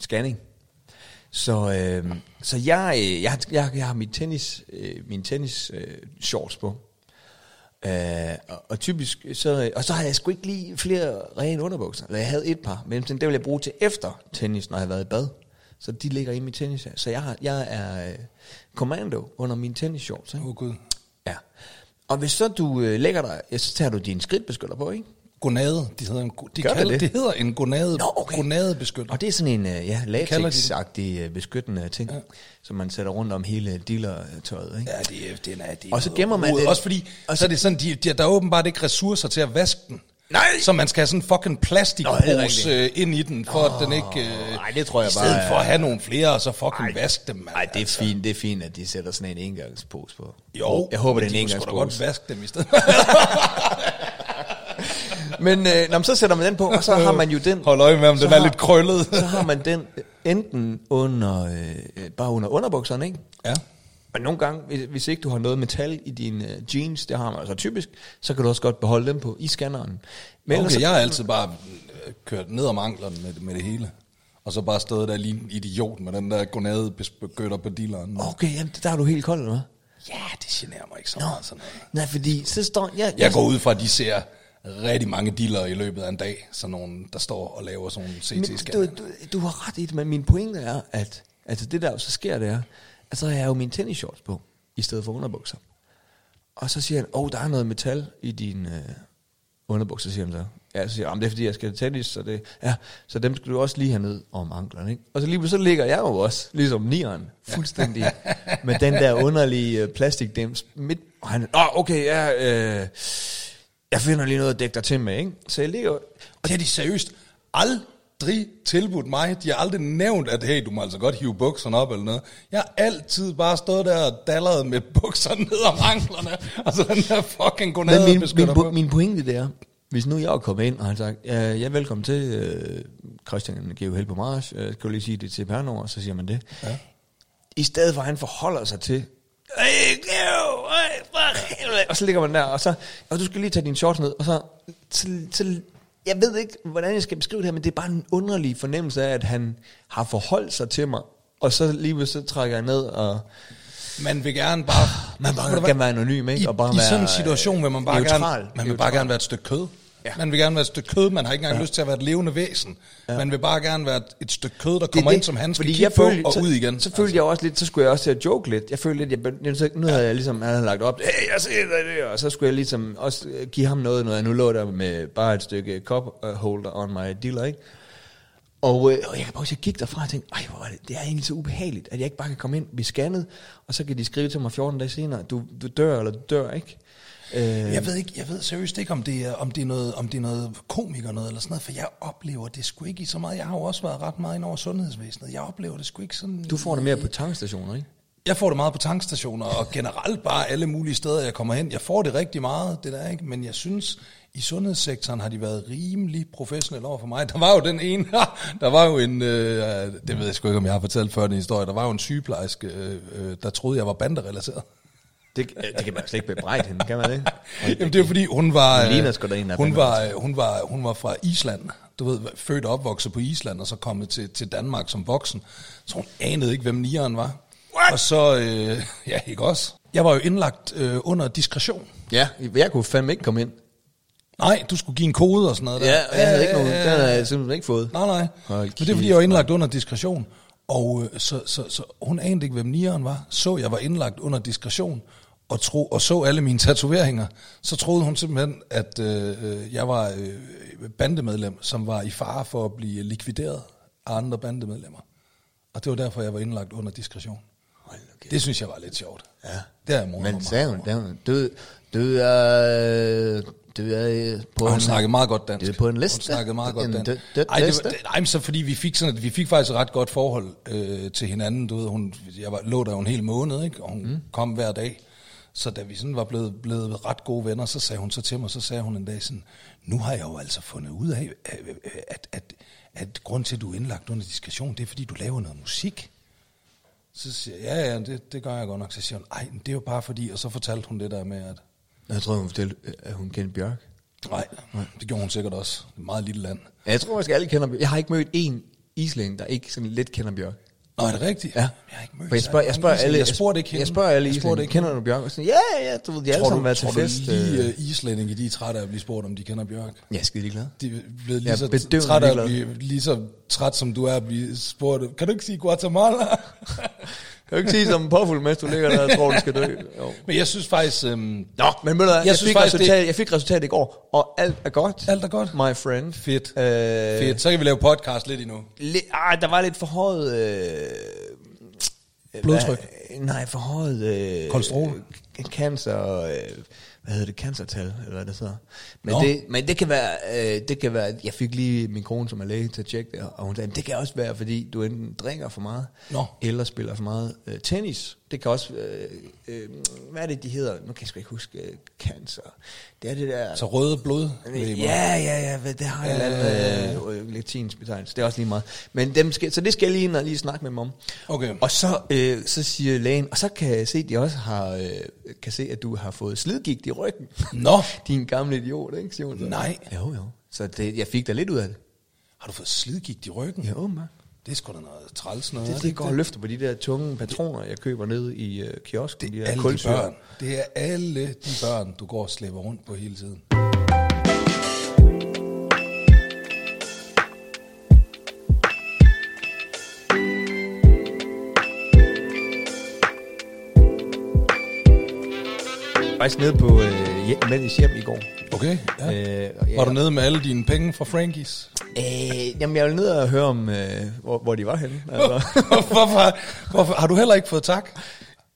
scanning. Så, øh, så jeg, øh, jeg, jeg, jeg har mit tennis, øh, min tennis øh, shorts på. Øh, og, og, typisk, så, og så har jeg sgu ikke lige flere rene underbukser. Eller jeg havde et par, men dem det vil jeg bruge til efter tennis, når jeg har været i bad. Så de ligger i min tennis. Så jeg, har, jeg er øh, commando under min tennis shorts. Ikke?
Åh oh, gud.
Ja. Og hvis så du øh, lægger dig, ja, så tager du din skridtbeskytter på, ikke?
Gonade, de hedder en, go- de
Gør det
kalder,
det?
det? det hedder en gonade,
Nå, okay.
gonadebeskytter.
Og det er sådan en øh, ja,
kalder de det.
latex-agtig øh, beskyttende ting, ja. som man sætter rundt om hele dealer-tøjet, ikke?
Ja, det er, den er, det er
Og så
noget
gemmer man
rod.
den.
Også fordi,
Og
og så, så er det sådan, de, de, der er åbenbart ikke ressourcer til at vaske den. Nej! Så man skal have sådan en fucking
Nå, det er
plastikpose
rigtigt.
øh, ind i den, for at den ikke... Øh,
nej, det tror jeg
I
bare
stedet
er-
for at have nogle flere, og så fucking vaske dem. mand.
Nej, det er fint, det er fint, at de sætter sådan en engangspose på.
Jo,
jeg håber, det er en
men de kunne sgu da godt
engangspose.
vaske dem i stedet.
Men, øh, nå, men så sætter man den på, og så har man jo den...
Hold øje med, om
så
den er
har-
lidt krøllet.
Så har man den enten under, øh, øh, bare under underbukserne, ikke?
ja.
Og nogle gange, hvis, hvis ikke du har noget metal i dine øh, jeans, det har man altså typisk, så kan du også godt beholde dem på i scanneren. Men
Okay,
så,
jeg har altid bare øh, kørt ned om anklerne med, med det hele. Og så bare stået der lige en idiot med den der gonadebeskytter på dilleren.
okay jamen, der er du helt kold, eller hvad?
Ja, det generer mig ikke så meget sådan noget.
Nej, fordi så står... Ja,
Jeg går ud fra, at de ser rigtig mange diller i løbet af en dag. Sådan nogen, der står og laver sådan nogle
Men du,
CT-scanner.
du, du har ret i det, men min pointe er, at altså det der jo så sker, det er, at så har jeg jo mine tennisshorts på, i stedet for underbukser. Og så siger han, åh, oh, der er noget metal i din øh, underbukser, siger han så. Ja, så siger han, det er fordi, jeg skal til tennis, så, det, ja, så dem skal du også lige have ned om anklerne. Ikke? Og så lige pludselig så ligger jeg jo også, ligesom nieren, fuldstændig med den der underlige øh, plastikdims midt. Og han, åh, oh, okay, ja, øh, jeg finder lige noget at dække dig til med, ikke? Så jeg ligger,
Og det har de seriøst aldrig tilbudt mig. De har aldrig nævnt, at hey, du må altså godt hive bukserne op eller noget. Jeg har altid bare stået der og dalleret med bukserne ned om anklerne. Og så den der fucking
Men min, min,
gonadebeskytter
po-
på.
min pointe det er, hvis nu jeg var kommet ind, og han sagt, ja, ja velkommen til øh, Christian Geo Hel på Mars, øh, kan du lige sige det til Pernod, og så siger man det. Ja. I stedet for, at han forholder sig til, "Øj, Geo, øj, for helvede," og så ligger man der, og så, og du skal lige tage din shorts ned, og så, til, til, jeg ved ikke, hvordan jeg skal beskrive det her, men det er bare en underlig fornemmelse af, at han har forholdt sig til mig, og så lige så trækker jeg ned, og
Man vil gerne bare...
Ah, man bare gerne være anonym, ikke?
I,
og bare
I
være,
sådan en situation vil man bare
neutral.
gerne, man vil
Neutral.
bare gerne være et stykke kød. Ja. Man vil gerne være et stykke kød, man har ikke engang ja. lyst til at være et levende væsen. Ja. Man vil bare gerne være et- et stykke kød, der
Det er
kommer
det.
ind, som han skal
Fordi
kigge
jeg
på
følte-
og
så,
ud igen.
Så følte altså. jeg også lidt, så skulle jeg også til at joke lidt. Jeg følte lidt, jeg, blev- jamen, så, nu havde jeg ligesom, han havde lagt op, hey, jeg ser dig der, og så skulle jeg ligesom også øh, give ham noget, noget. Nu lå der med bare et stykke cup øh, holder on my dealer, ikke? Og, øh, og jeg kan bare huske, jeg gik derfra og tænkte, Ej, hvor er det, det er egentlig så ubehageligt, at jeg ikke bare kan komme ind, blive scannet, og så kan de skrive til mig 14 dage senere, du, du dør eller du dør, ikke? Øh,
Jeg ved ikke, jeg ved seriøst ikke, om det er, om det er noget, om det er noget komiker noget eller sådan noget, for jeg oplever det sgu ikke i så meget. Jeg har jo også været ret meget ind over sundhedsvæsenet. Jeg oplever det sgu ikke sådan...
du får det mere på tankstationer, ikke?
Jeg får det meget på tankstationer, og generelt bare alle mulige steder, jeg kommer hen. Jeg får det rigtig meget, det der, ikke? Men jeg synes, i sundhedssektoren har de været rimelig professionelle over for mig. Der var jo den ene, der var jo en, øh, det ved jeg sgu ikke, om jeg har fortalt før den historie, der var jo en sygeplejerske, øh, øh, der troede, jeg var banderelateret.
Det, øh, det kan man jo slet ikke bebrejde hende, kan man det?
Jamen det er fordi, hun var, øh,
Hun ligner sgu da en, altså. der er
hun, var, øh, hun, var, hun var fra Island. Du ved, født og opvokset på Island, og så kommet til, til Danmark som voksen. Så hun anede ikke, hvem nieren var. What? Og så, øh, ja ikke også. Jeg var jo indlagt øh, under diskretion.
Ja, jeg kunne fandme ikke komme ind.
Nej, du skulle give en kode og sådan noget. Der.
den havde jeg simpelthen ikke fået.
Nej, nej.
Hold
Men det er fordi, jeg var indlagt under diskretion. Og øh, så, så, så hun anede ikke, hvem nieren var. Så jeg var indlagt under diskretion og, tro, og så alle mine tatoveringer. Så troede hun simpelthen, at øh, øh, jeg var øh, bandemedlem, som var i fare for at blive likvideret af andre bandemedlemmer. Og det var derfor, jeg var indlagt under diskretion.
Hold nu kæft.
Det synes jeg var lidt sjovt. Ja. Det er mor
Men sagde hun, sagde hun, du, du er, du er på
Og hun
en-
snakkede meget godt dansk.
Det er på en
Hun
liste.
snakkede meget godt
En
dansk.
død- død
Ej, det
liste.
var, det, nej, men så fordi vi fik, sådan, at vi fik faktisk et ret godt forhold øh, til hinanden. Du ved, hun, jeg var, lå der jo en hel måned, ikke? og hun mm. kom hver dag. Så da vi sådan var blevet, blevet ret gode venner, så sagde hun så til mig, så sagde hun en dag sådan, nu har jeg jo altså fundet ud af, at, at, at, at grund til, at du er indlagt under diskretion, det er, fordi du laver noget musik. Så siger jeg, ja, ja, det, det gør jeg godt nok. Så siger hun, ej, men det er jo bare fordi, og så fortalte hun det der med, at
Jeg tror, hun fortalte, at hun kendte Bjørk.
Nej, det gjorde hun sikkert også. Det er et meget lille land.
Ja, jeg tror faktisk, alle kender Bjørk. Jeg har ikke mødt en islænding, der ikke sådan lidt kender Bjørk.
Nå, er det rigtigt?
Ja.
Jeg har ikke mødt
For jeg spørger,
særlig
jeg spørger
mange
alle,
islændinge. Jeg spurgte ikke hende.
Jeg spørger alle
Jeg spurgte
islændinge,
ikke
kender du Bjørk? Og sådan, ja, ja, du ved, de har alle sammen været til
tror du
fest.
lige
øh.
øh, islændinge, de er trætte af at blive spurgt, om de kender Bjørk?
Jeg er skide ligeglad.
De er blevet lige
Ja,
så
bedøvende
trætte af at
ligeglad.
blive lige så træt, som du er at blive spurgt. Kan du ikke sige Guatemala?
Kan du ikke sige som en påfuld, mens du ligger der og tror, du skal dø? Jo.
Men jeg synes faktisk... Øhm,
Nå, men ved du hvad, jeg, jeg,
synes
fik
faktisk,
resultat, jeg fik resultat i går, og alt er godt.
Alt er godt.
My friend.
Fedt.
Øh,
Fedt, så kan vi lave podcast lidt endnu.
Le- ah, der var lidt forhøjet... Øh,
Blodtryk.
Hva, nej, forhøjet... Øh,
Kolesterol.
Øh, cancer... Øh, hvad hedder det, cancertal, eller hvad det så. Men,
Nå.
det, men det, kan være, øh, det kan være, jeg fik lige min kone, som er læge, til at tjekke det, og hun sagde, det kan også være, fordi du enten drikker for meget,
Nå.
eller spiller for meget øh, tennis. Det kan også, øh, øh, hvad er det, de hedder? Nu kan jeg sgu ikke huske, øh, cancer. Det er det der...
Så røde blod.
Ja, ja, ja, hvad- det har jeg øh, øh, øh, latinsk betegnelse, det er også lige meget. Men dem skal, så det skal jeg lige ind og lige snakke med dem om.
Okay.
Og så, øh, så siger lægen, og så kan jeg se, at de også har, øh, kan se, at du har fået slidgigt i ryggen.
Nå.
Din gamle idiot, ikke, siger hun så.
Nej.
Jo, jo. Så det, jeg fik da lidt ud af det.
Har du fået slidgigt i ryggen?
Jo, man.
Det er sgu da noget træls noget. er
Det, det går og løfter på de der tunge patroner, jeg køber nede i øh, kiosken.
Det
der
er alle de
kulsyre.
børn. Det er alle de børn, du går og slæber rundt på hele tiden.
Faktisk nede på øh, hjem, Mælles hjem i går.
Okay, ja.
Øh, og jeg-
Var du nede med alle dine penge fra Frankies?
Øh, jamen, jeg var nede og høre om, øh, hvor, hvor de var henne. Altså.
hvorfor, hvorfor, har du heller ikke fået tak?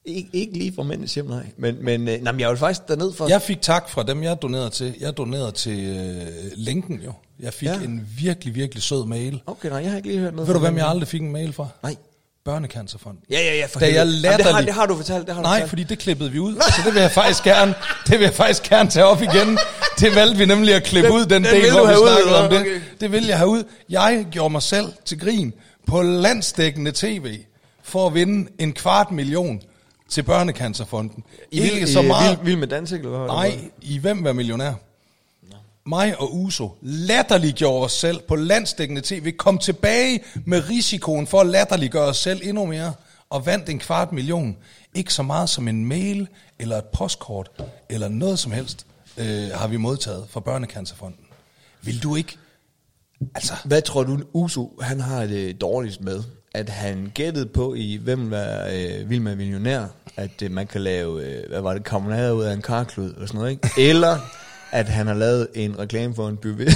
Ik- ikke lige fra mændens hjem, nej. Men, men, øh, nej, men jeg var faktisk dernede for...
Jeg fik tak fra dem, jeg donerede til. Jeg donerede til øh, Linken jo. Jeg fik
Ja.
ja. en virkelig, virkelig sød mail.
Okay, nej, jeg har ikke lige hørt noget.
Ved du,
fra
hvem jeg
dem.
aldrig fik en mail fra?
Nej.
Børnecancerfonden.
Ja, ja, ja. For
Da jeg
helvede. Jamen, det, har,
latterligt-
det har du fortalt, det har du
Nej,
fortalt.
fordi det klippede vi ud, så det vil jeg faktisk gerne, det vil jeg faktisk gerne tage op igen. Det valgte vi nemlig at klippe
Den-
ud, den,
den
del,
vil
hvor
du
vi
have ud,
snakkede om
eller
det.
hvad? Okay.
Det vil jeg have ud. Jeg gjorde mig selv til grin på landsdækkende tv for at vinde en kvart million til Børnecancerfonden.
I, øh, vild,
Ikke så meget.
Vild, vild med dans, eller hvad? var det?
Nej, i Hvem var millionær? Mig og Uso latterliggjorde os selv på landsdækkende tv, kom tilbage med risikoen for at latterliggøre os selv endnu mere, og vandt en kvart million. Ikke så meget som en mail, eller et postkort, eller noget som helst, øh, har vi modtaget fra Børnecancerfonden. Vil du ikke? Altså,
Hvad tror du, Uso, han har det dårligst med? At han gættede på i, hvem var øh, vild med millionær, at øh, man kan lave, øh, hvad var det, kommunader ud af en karklud og sådan noget, ikke? Eller at han har lavet en reklame for en buvet.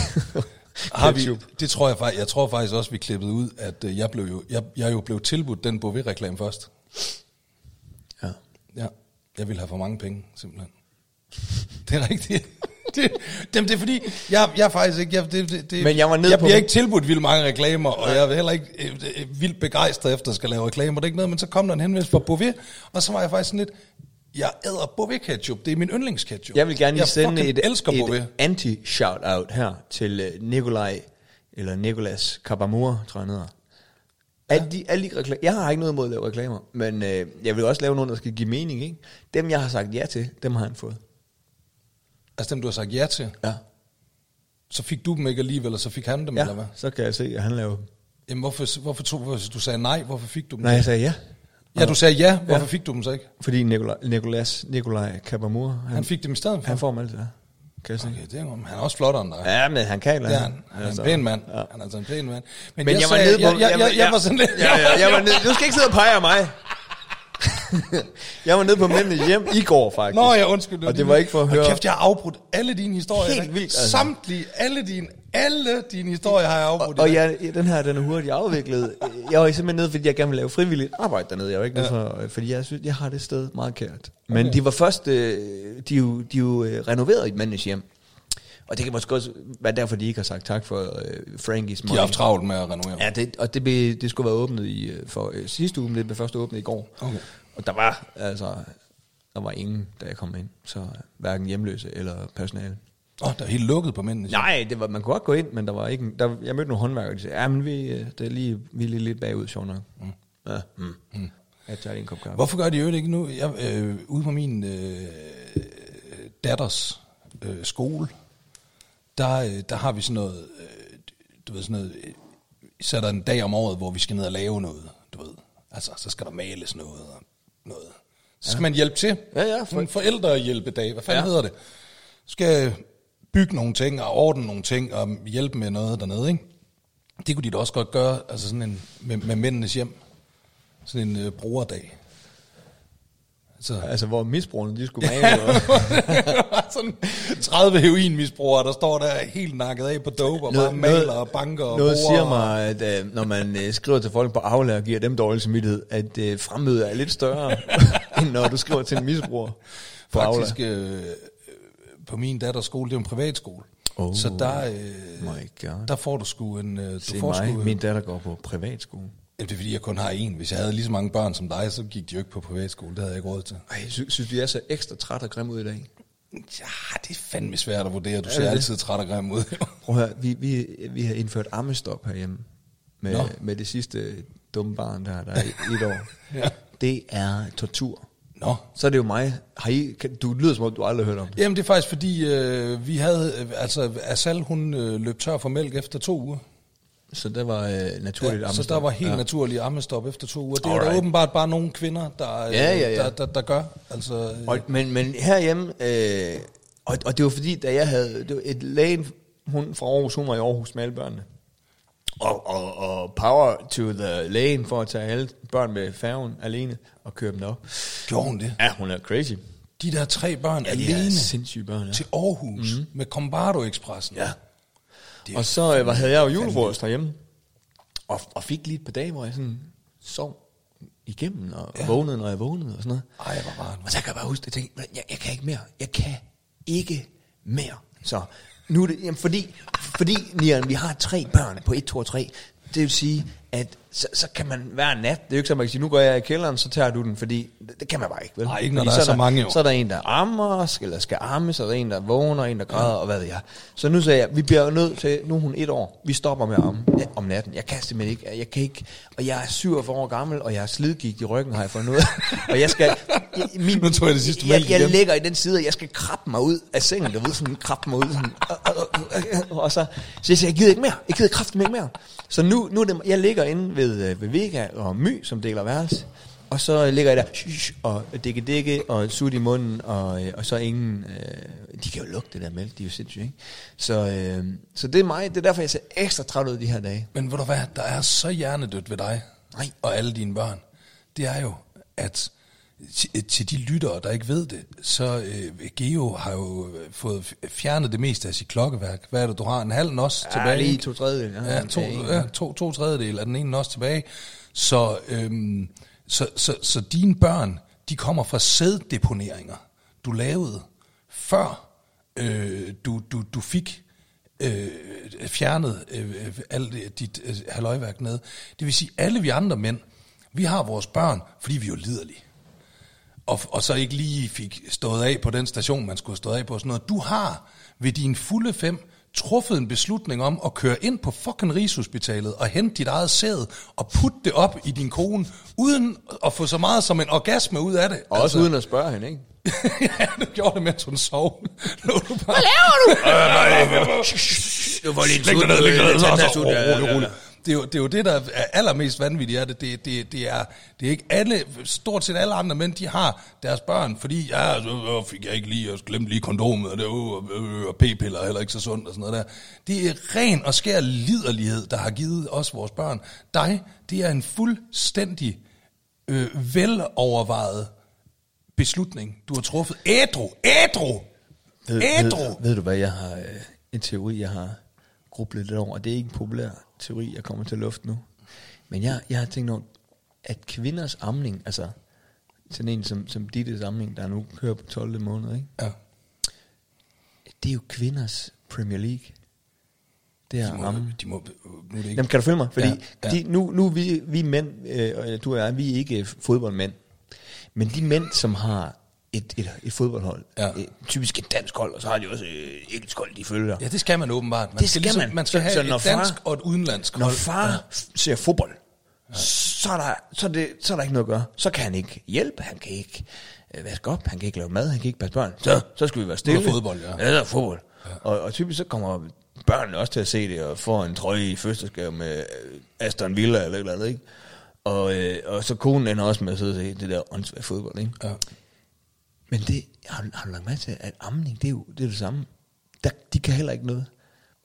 har vi, det tror jeg faktisk, jeg tror faktisk også, vi klippede ud, at øh, jeg, blev jo, jeg, jeg jo blev tilbudt den Bovee-reklame først.
Ja.
Ja, jeg ville have for mange penge, simpelthen. Det er rigtigt. Det, det, det er fordi, jeg, jeg er faktisk ikke... Jeg, det, det, det,
Men jeg var nede
jeg
på-
bliver ikke tilbudt vildt mange reklamer, og jeg er heller ikke øh, øh, vildt begejstret efter at skal lave reklamer. Det er ikke noget, men så kom der en henvendelse fra Bové, og så var jeg faktisk sådan lidt... Jeg æder Bové ketchup. Det er min yndlingsketchup.
Jeg vil gerne lige
jeg
sende
fucking
et,
elsker Bové.
et anti-shout-out her til øh, Nikolaj, eller Nikolas Kabamur, tror jeg han hedder. Alle de, alle de reklamer, jeg har ikke noget imod at lave reklamer, men øh, jeg vil også lave nogle, der skal give mening, ikke? Dem, jeg har sagt ja til, dem har han fået.
Altså dem, du har sagt ja til.
Ja.
Så fik du dem ikke alligevel, og så fik han dem, eller hvad?
ja så kan jeg se, at han laver dem.
Jamen, hvorfor, hvorfor tog, hvorfor, du sagde nej, hvorfor fik du dem?
Nej, jeg sagde ja.
Ja, du sagde ja, hvorfor ja. fik du dem så ikke?
Fordi Nikolaj, Nikolas, Nikolaj Kabamur, han,
Han
han,
fik dem i stedet for.
han får dem altid, ja. Kan jeg se.
Okay, det er, han er også flottere end dig. Ja.
Ja, men han kan eller
Det er han. Han er en pæn mand. Ja. Han er altså en pæn mand. Men,
Men jeg, jeg var
sagde-
nede på...
Jeg, jeg, jeg, jeg var sådan lidt...
Ja, ja, jeg var nede, du skal ikke sidde og pege af mig. jeg var nede på mændene hjem i går, faktisk.
Nå, jeg undskyld.
Og det
lige-
var ikke for at høre...
Og kæft, jeg har afbrudt alle dine historier. i
Helt
dag.
vildt, altså.
Samtlige, alle dine, alle dine historier har jeg afbrudt.
og
i dag.
jeg, den her, den er hurtigt afviklet. Jeg var simpelthen nede, fordi jeg gerne ville lave frivilligt arbejde dernede. Jeg var ikke ja. for, fordi jeg synes, jeg har det sted meget kært. Men de var først, øh, de er jo, de er jo øh, renoveret i mændenes hjem. Og det kan måske også være derfor, de ikke har sagt tak for øh, Frankies
De har haft travlt med at renovere.
Ja, det, og det, blev, det skulle være åbnet i, øh, for øh, sidste uge, men det blev først åbnet i går.
Okay.
Og der var altså der var ingen, da jeg kom ind, så øh, hverken hjemløse eller personale.
Åh, oh, der er helt lukket på mændene.
Nej, det var, man kunne godt gå ind, men der var ikke, der, jeg mødte nogle håndværkere, og de sagde, ja, men vi, øh, det er lige, vi er lige lidt bagud, sjovt nok. Mm. Ja, mm. Mm. Jeg tager lige en kop kaffe.
Hvorfor gør de jo ikke nu? Jeg, øh, ude på min øh, datters øh, skole, der, øh, der har vi sådan noget, øh, du ved sådan noget, øh, så er der en dag om året, hvor vi skal ned og lave noget, du ved. Altså, så skal der males noget og noget. Så skal ja. man hjælpe til.
Ja, ja,
For... En forældrehjælpedag, hvad fanden ja. hedder det? Skal bygge nogle ting og ordne nogle ting og hjælpe med noget dernede, ikke? Det kunne de da også godt gøre, altså sådan en, med, med mændenes hjem. Sådan en øh, brugerdag. Altså,
Altså, hvor misbrugerne, de skulle være ja.
sådan 30 heroinmisbrugere, der står der helt nakket af på dope, og bare maler og banker og
Noget
borer
siger
og-
mig, at øh, når man øh, skriver til folk på Aula og giver dem dårlig samvittighed, at øh, fremmødet er lidt større, end når du skriver til en misbruger på Aula.
Faktisk øh, på min datters skole, det er jo en privatskole.
Oh,
så der, øh,
my God.
der får du sgu en... Øh, du
Se
får
mig,
sgu,
min datter går på privatskole.
Jamen, det er fordi, jeg kun har én. Hvis jeg havde lige så mange børn som dig, så gik de jo ikke på privatskole. Det havde jeg ikke råd til.
Ej, sy- synes du, jeg er så ekstra træt og grim ud i dag?
Ja, det er fandme svært at vurdere. Du
det
ser
det?
altid træt og grim ud.
Prøv at høre, vi, vi, vi har indført ammestop herhjemme med,
Nå.
med det sidste dumme barn, der, der er i- et år.
Ja.
Det er tortur.
Nå.
Så er det jo mig. Har I, kan, du lyder som om, du aldrig har hørt om det.
Jamen, det er faktisk fordi, øh, vi havde... Øh, altså, Asal, hun øh, løb tør for mælk efter to uger.
Så der var øh, naturligt
Ja, så
ammestop.
der var helt ja.
ja.
naturlig ammestop efter to uger. Det er der
Alright.
åbenbart bare nogle kvinder, der, øh,
Ja, ja, ja.
der, der, der gør. Altså, øh,
Og, men, men herhjemme, øh, og, og det var fordi, da jeg havde, det var et lægen, hun fra Aarhus, hun var i Aarhus med alle børnene. Og, og, og power to the lægen for at tage alle børn med færgen alene og køre dem op.
gjorde hun det?
Ja, hun er crazy.
De der tre børn ja,
Ja, de er
alene
sindssyge børn, ja.
til Aarhus mm-hmm. med Combardo Expressen.
Ja.
Det er
Og så øh, hvad havde jeg jo julefrokost derhjemme, og, og fik lige et par dage, hvor jeg sådan sov igennem, og ja. vågnede, når jeg vågnede, og sådan noget.
Ej, hvor var det.
Og så kan jeg bare huske, at jeg tænkte, jeg, jeg kan ikke mere. Jeg kan ikke mere. Så nu er det, jamen fordi, fordi Nian, vi har tre børn på 1, 2 og 3. Det vil sige, at så, så kan man hver nat, det er jo ikke så, at man kan sige, nu går jeg i kælderen, så tager du den, fordi det, det kan man bare ikke, vel?
Nej, ikke når
Fordi
der er så mange, jo.
Så er der en, der ammer, eller skal amme, så er der en, der vågner, en, der græder, og hvad ved jeg. Så nu sagde jeg, vi bliver jo nødt til, nu er hun et år, vi stopper med at amme ja, om natten. Jeg kan simpelthen ikke, jeg kan ikke, og jeg er 47 år gammel, og jeg er slidgigt i ryggen, har jeg fundet ud af. Og jeg skal, jeg, min,
Nu tror jeg det sidste
jeg,
mælk
jeg
igen.
ligger i den side, og jeg skal krabbe mig ud af sengen, du ved, sådan krabbe mig ud, sådan, øh, og, og, og, og, så, så jeg siger, jeg gider ikke mere, jeg gider kraften ikke mere. Så nu, nu er det, jeg ligger inde ved, øh, ved Vega og My, som deler værelse, og så ligger jeg der, shh, shh, og dække dække, og sut i munden, og, øh, og så ingen, øh, de kan jo lugte det der mælk, de er jo sindssyge, ikke? Så, øh, så det er mig, det er derfor, jeg ser ekstra træt ud de her dage.
Men ved du hvad, der er så hjernedødt ved dig
Nej.
og alle dine børn, det er jo, at til- til de lyttere, der ikke ved det, så øh, Geo har jo fået f- fjernet det meste af sit klokkeværk. Hvad er det, du har? En halv nos
Ja,
tilbage?
lige
ikke?
to øh, tredjedele. Ja,
Ja, to,
ja, en.
ja, to, to tredjedel af den ene nos tilbage. Så, øhm, så, så, så dine børn, de kommer fra sæddeponeringer, du lavede, før øh, du, du, du fik øh, fjernet øh, øh, alt det- dit øh, halvøjværk ned. Det vil sige, alle vi andre mænd, vi har vores børn, fordi vi er jo liderlige og, og så ikke lige fik stået af på den station, man skulle have stået af på. og Sådan noget. Du har ved dine fulde fem truffet en beslutning om at køre ind på fucking Rigshospitalet og hente dit eget sæde og putte det op i din kone, uden at få så meget som en orgasme ud af det.
Og altså, også uden at spørge hende, ikke?
ja, du gjorde det, mens hun sov. Lå du bare...
Det var lige
Læg dig ned, læg dig ned, så, så, rolig, rolig. Det er, jo, det er jo det, der er allermest vanvittigt af det. Det, det, det, er, det er ikke alle, stort set alle andre mænd, de har deres børn, fordi ja, så øh, fik jeg ikke lige, jeg glemte lige kondomet, og, det, øh, øh, øh, og p-piller er heller ikke så sundt og sådan noget der. Det er ren og skær liderlighed, der har givet os vores børn. Dig, det er en fuldstændig øh, velovervejet beslutning, du har truffet. Ædru! Ædru!
Ved,
Ædru!
ved, ved du hvad, jeg har øh, en teori, jeg har grublet lidt over, og det er ikke en populær teori, jeg kommer til at lufte nu. Men jeg, jeg har tænkt over, at kvinders amning, altså sådan en som, som Dittes amning, der nu kører på 12. måned, ikke?
Ja.
det er jo kvinders Premier League. Det er
De
at
må,
amme.
de må, nu er det ikke
Jamen, kan du følge mig? Fordi
Ja,
ja,
ja.
ja. De, nu, nu er vi, vi mænd, øh, og du og jeg, vi er ikke øh, fodboldmænd. Men de mænd, som har et, et, et fodboldhold,
Ja.
ja. øh, typisk et dansk hold, og så har de også øh, engelsk hold, de følger.
Ja, det skal man åbenbart. Man
Det skal man.
Man skal
Så-
have
så
et
når far-
dansk og et udenlandsk
Når
hold.
far ja. ser fodbold, så er, der, så, er det, så er der ikke noget at gøre. Så kan han ikke hjælpe, han kan ikke øh, vaske op, han kan ikke lave mad, han kan ikke passe børn. Så, så skal vi være stille.
fodbold, ja.
Ja, der er fodbold. Ja. Og, og typisk så kommer børnene også til at se det, og får en trøje i fødselsdagsgave med øh, Aston Villa eller et eller andet, ikke? Og, øh, og så konen ender også med at sidde og se det der åndssvagt fodbold, ikke?
Ja.
Men det har, har du lagt mærke til, at amning, det er jo det, er det samme. Der, de kan heller ikke noget.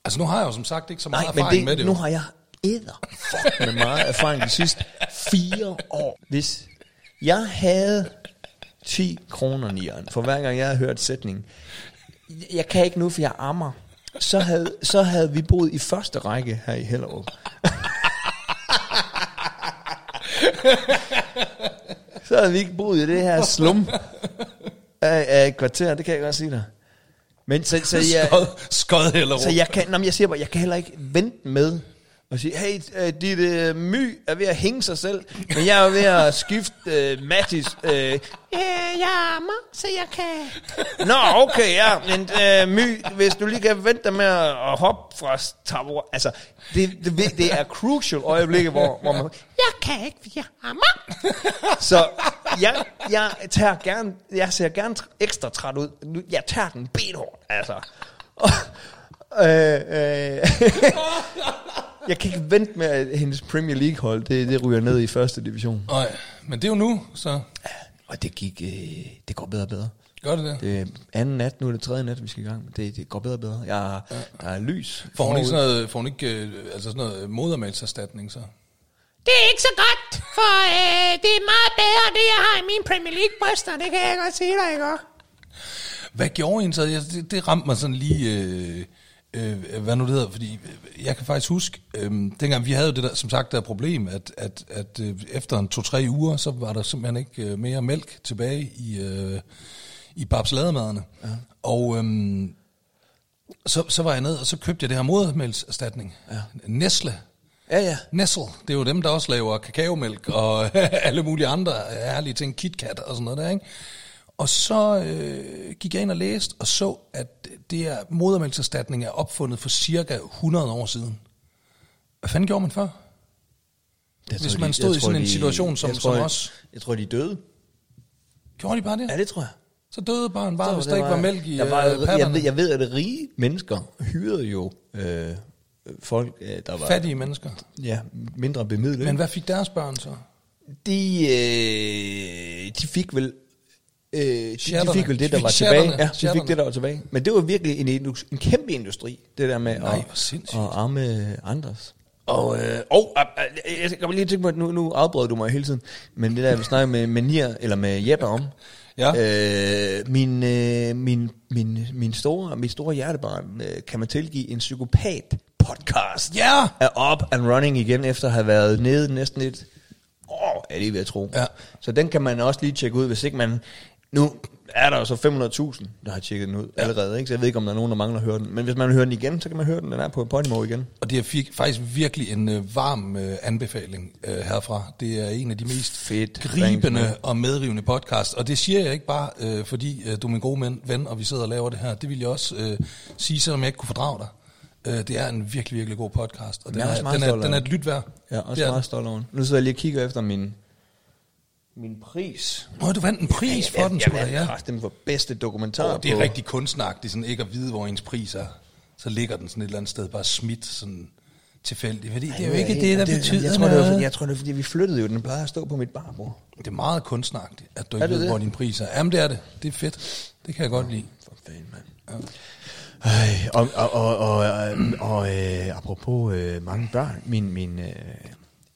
Altså nu har jeg jo som sagt ikke så meget
Nej, men
erfaring
det,
med det.
nu
jo.
har jeg æder fuck med meget erfaring de sidste fire år. Hvis jeg havde 10 kroner nieren, for hver gang jeg havde hørt sætningen, jeg kan ikke nu, for jeg ammer, så havde, så havde vi boet i første række her i Hellerup. så havde vi ikke boet i det her slum af, af et kvarter, det kan jeg godt sige dig. Men så, så jeg...
Skod, skod eller
Så jeg kan, nå, men jeg siger bare, jeg kan heller ikke vente med og sige, hey, øh, dit øh, my er ved at hænge sig selv, men jeg er ved at skifte øh, Mathis. Øh, ja, jeg er mig, så jeg kan... Nå, okay, ja, men øh, my, hvis du lige kan vente dig med at at hoppe fra tabor... Altså, det, det, ved- det er crucial øjeblikke, hvor, hvor man... Jeg kan ikke, for jeg er mig. Så jeg, jeg, tager gerne, jeg ser gerne tr- ekstra træt ud. Nu- Jeg tager den benhårdt, altså. Øh, øh. jeg kan ikke vente med, at hendes Premier League-hold, det, det ryger ned i første division.
Nej, men det er jo nu, så
Og det gik, øh, det går bedre og bedre.
gør det der.
Det er anden nat, nu er det tredje nat, vi skal i gang. med. Det, det går bedre og bedre. Jeg, der er lys.
Får hun ikke
forud.
sådan noget, får hun ikke, øh, altså sådan noget modermalserstatning, så?
Det er ikke så godt, for øh, det er meget bedre, det jeg har i mine Premier League-bryster, det kan jeg godt sige dig, ikke også?
Hvad gjorde en så? Jeg- Det, det ramte mig sådan lige, øh, øh, hvad nu det hedder, fordi jeg kan faktisk huske, øh, dengang vi havde jo det der, som sagt, der problem, at, at, at øh, efter en to-tre uger, så var der simpelthen ikke øh, mere mælk tilbage i, øh, i babslademaderne. Ja. Og øh, så, så var jeg ned, og så købte jeg det her modermælserstatning. Ja. Nestle.
Ja, ja.
Nestle, det er jo dem, der også laver kakaomælk og alle mulige andre herlige ting, KitKat og sådan noget der, ikke? Og så øh, gik jeg ind og læste og så, at det her modermælkserstatning er opfundet for cirka 100 år siden. Hvad fanden gjorde man før?
Jeg
Hvis
tror,
man
de-
stod
jeg
i
tror,
sådan en
de-
situation som-
jeg tror,
som
jeg-
os.
Jeg tror, de er døde.
Gjorde de bare det?
Ja, det tror jeg.
Så døde barn bare,
Så
hvis
det
der ikke var mælk i
der
øh,
var, jeg, jeg,
patterne.
ved, jeg ved, at rige mennesker hyrede jo øh, folk, øh, der var
Fattige mennesker.
ja, mindre bemidlet.
Men hvad fik deres børn så?
de, øh, de fik vel... Øh, de, de
Chatterne.
fik vel det,
De
der
fik
var
chatterne.
tilbage. Ja, de fik
Chatterne.
det, der var tilbage. Men det var virkelig en, indus- en kæmpe industri, det der med
Nej, hvor
at,
sindssygt.
at arme Anders. Og, øh, og øh, øh, jeg kommer lige til at tænke på, at nu, nu afbrød du mig hele tiden, men det der, vi snakker med, med Nier, eller med Jeppe om,
Ja.
øh, min, øh, min, min, min store, mit store hjertebarn, øh, kan man tilgive en psykopat-podcast
Ja!
er up and running igen, efter at have været nede næsten et år, er det ved at tro.
Ja.
Så den kan man også lige tjekke ud, hvis ikke man... Nu er der jo så 500.000, der har tjekket den ud allerede, ikke? så jeg ved ikke, om der er nogen, der mangler at høre den. Men hvis man vil høre den igen, så kan man høre den, den er på Podimo igen.
Og det er fik- faktisk virkelig en øh, varm øh, anbefaling øh, herfra. Det er en af de mest
Fedt.
gribende og medrivende podcast. Og det siger jeg ikke bare, øh, fordi øh, du er min gode men, ven, og vi sidder og laver det her. Det vil jeg også øh, sige, selvom jeg ikke kunne fordrage dig. Øh, det er en virkelig, virkelig god podcast. Og den,
Jeg er også
er,
meget
den, er,
stolt af
den er
den.
et lyt værd.
Ja,
Det
også
er
meget stolt over den. Nu sidder jeg lige og kigger efter min, min pris.
den. Nå, du vandt en pris for den,
jeg,
skulle
jeg,
da, ja.
den for bedste dokumentar
Det er
på-
rigtig kunstnagtigt, sådan ikke at vide, hvor ens pris er. Så ligger den sådan et eller andet sted, bare smidt sådan tilfældigt. Fordi det er jo ikke det, der betyder
jeg tror, det var,
noget.
fordi- jeg tror, det er, fordi vi flyttede jo. Den plejer at stå på mit barbord.
Det er meget kunstnagtigt, at du
Er
ikke
det
ved,
det?
hvor din pris er. Jamen, det er det. Det er fedt. Det kan jeg godt lide.
For fanden, mand. Ej, og, og, og, og, og, og øh, apropos øh, mange børn, min, min øh,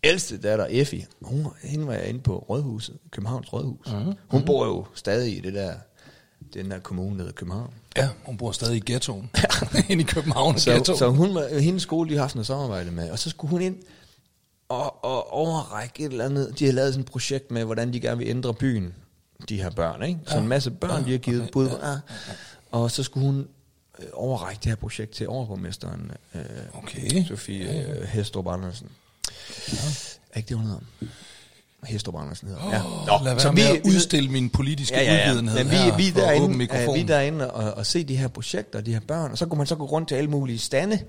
ældste datter Effie, hun, hende var jeg inde på Rådhuset, Københavns Rådhus. Mm-hmm. Hun bor jo stadig i det der, den der kommune, der hedder København.
Ja, hun bor stadig i ghettoen. Inde i København så,
Så,
ghetto.
så
Så.
hun, var- hendes skole, de har haft noget samarbejde med, og så skulle hun ind og, og overrække et eller andet. De har lavet sådan et projekt med, hvordan de gerne vil ændre byen, de her børn, ikke? Så en masse børn, de har givet bud. Ja. Og så skulle hun øh, overrække det her projekt til overborgmesteren, øh,
Okay.
Sofie øh, Hestrup Andersen. Er ikke det, hun hedder? Hestrup Andersen hedder hun.
Ja. Lad være så med at udstille min politiske ja, ja, ja. udvidenhed
Men vi,
her
vi, er
for åben
derinde,
mikrofon.
er, vi er derinde og, og se de her projekter, de her børn, og så kunne man så gå rundt til alle mulige stande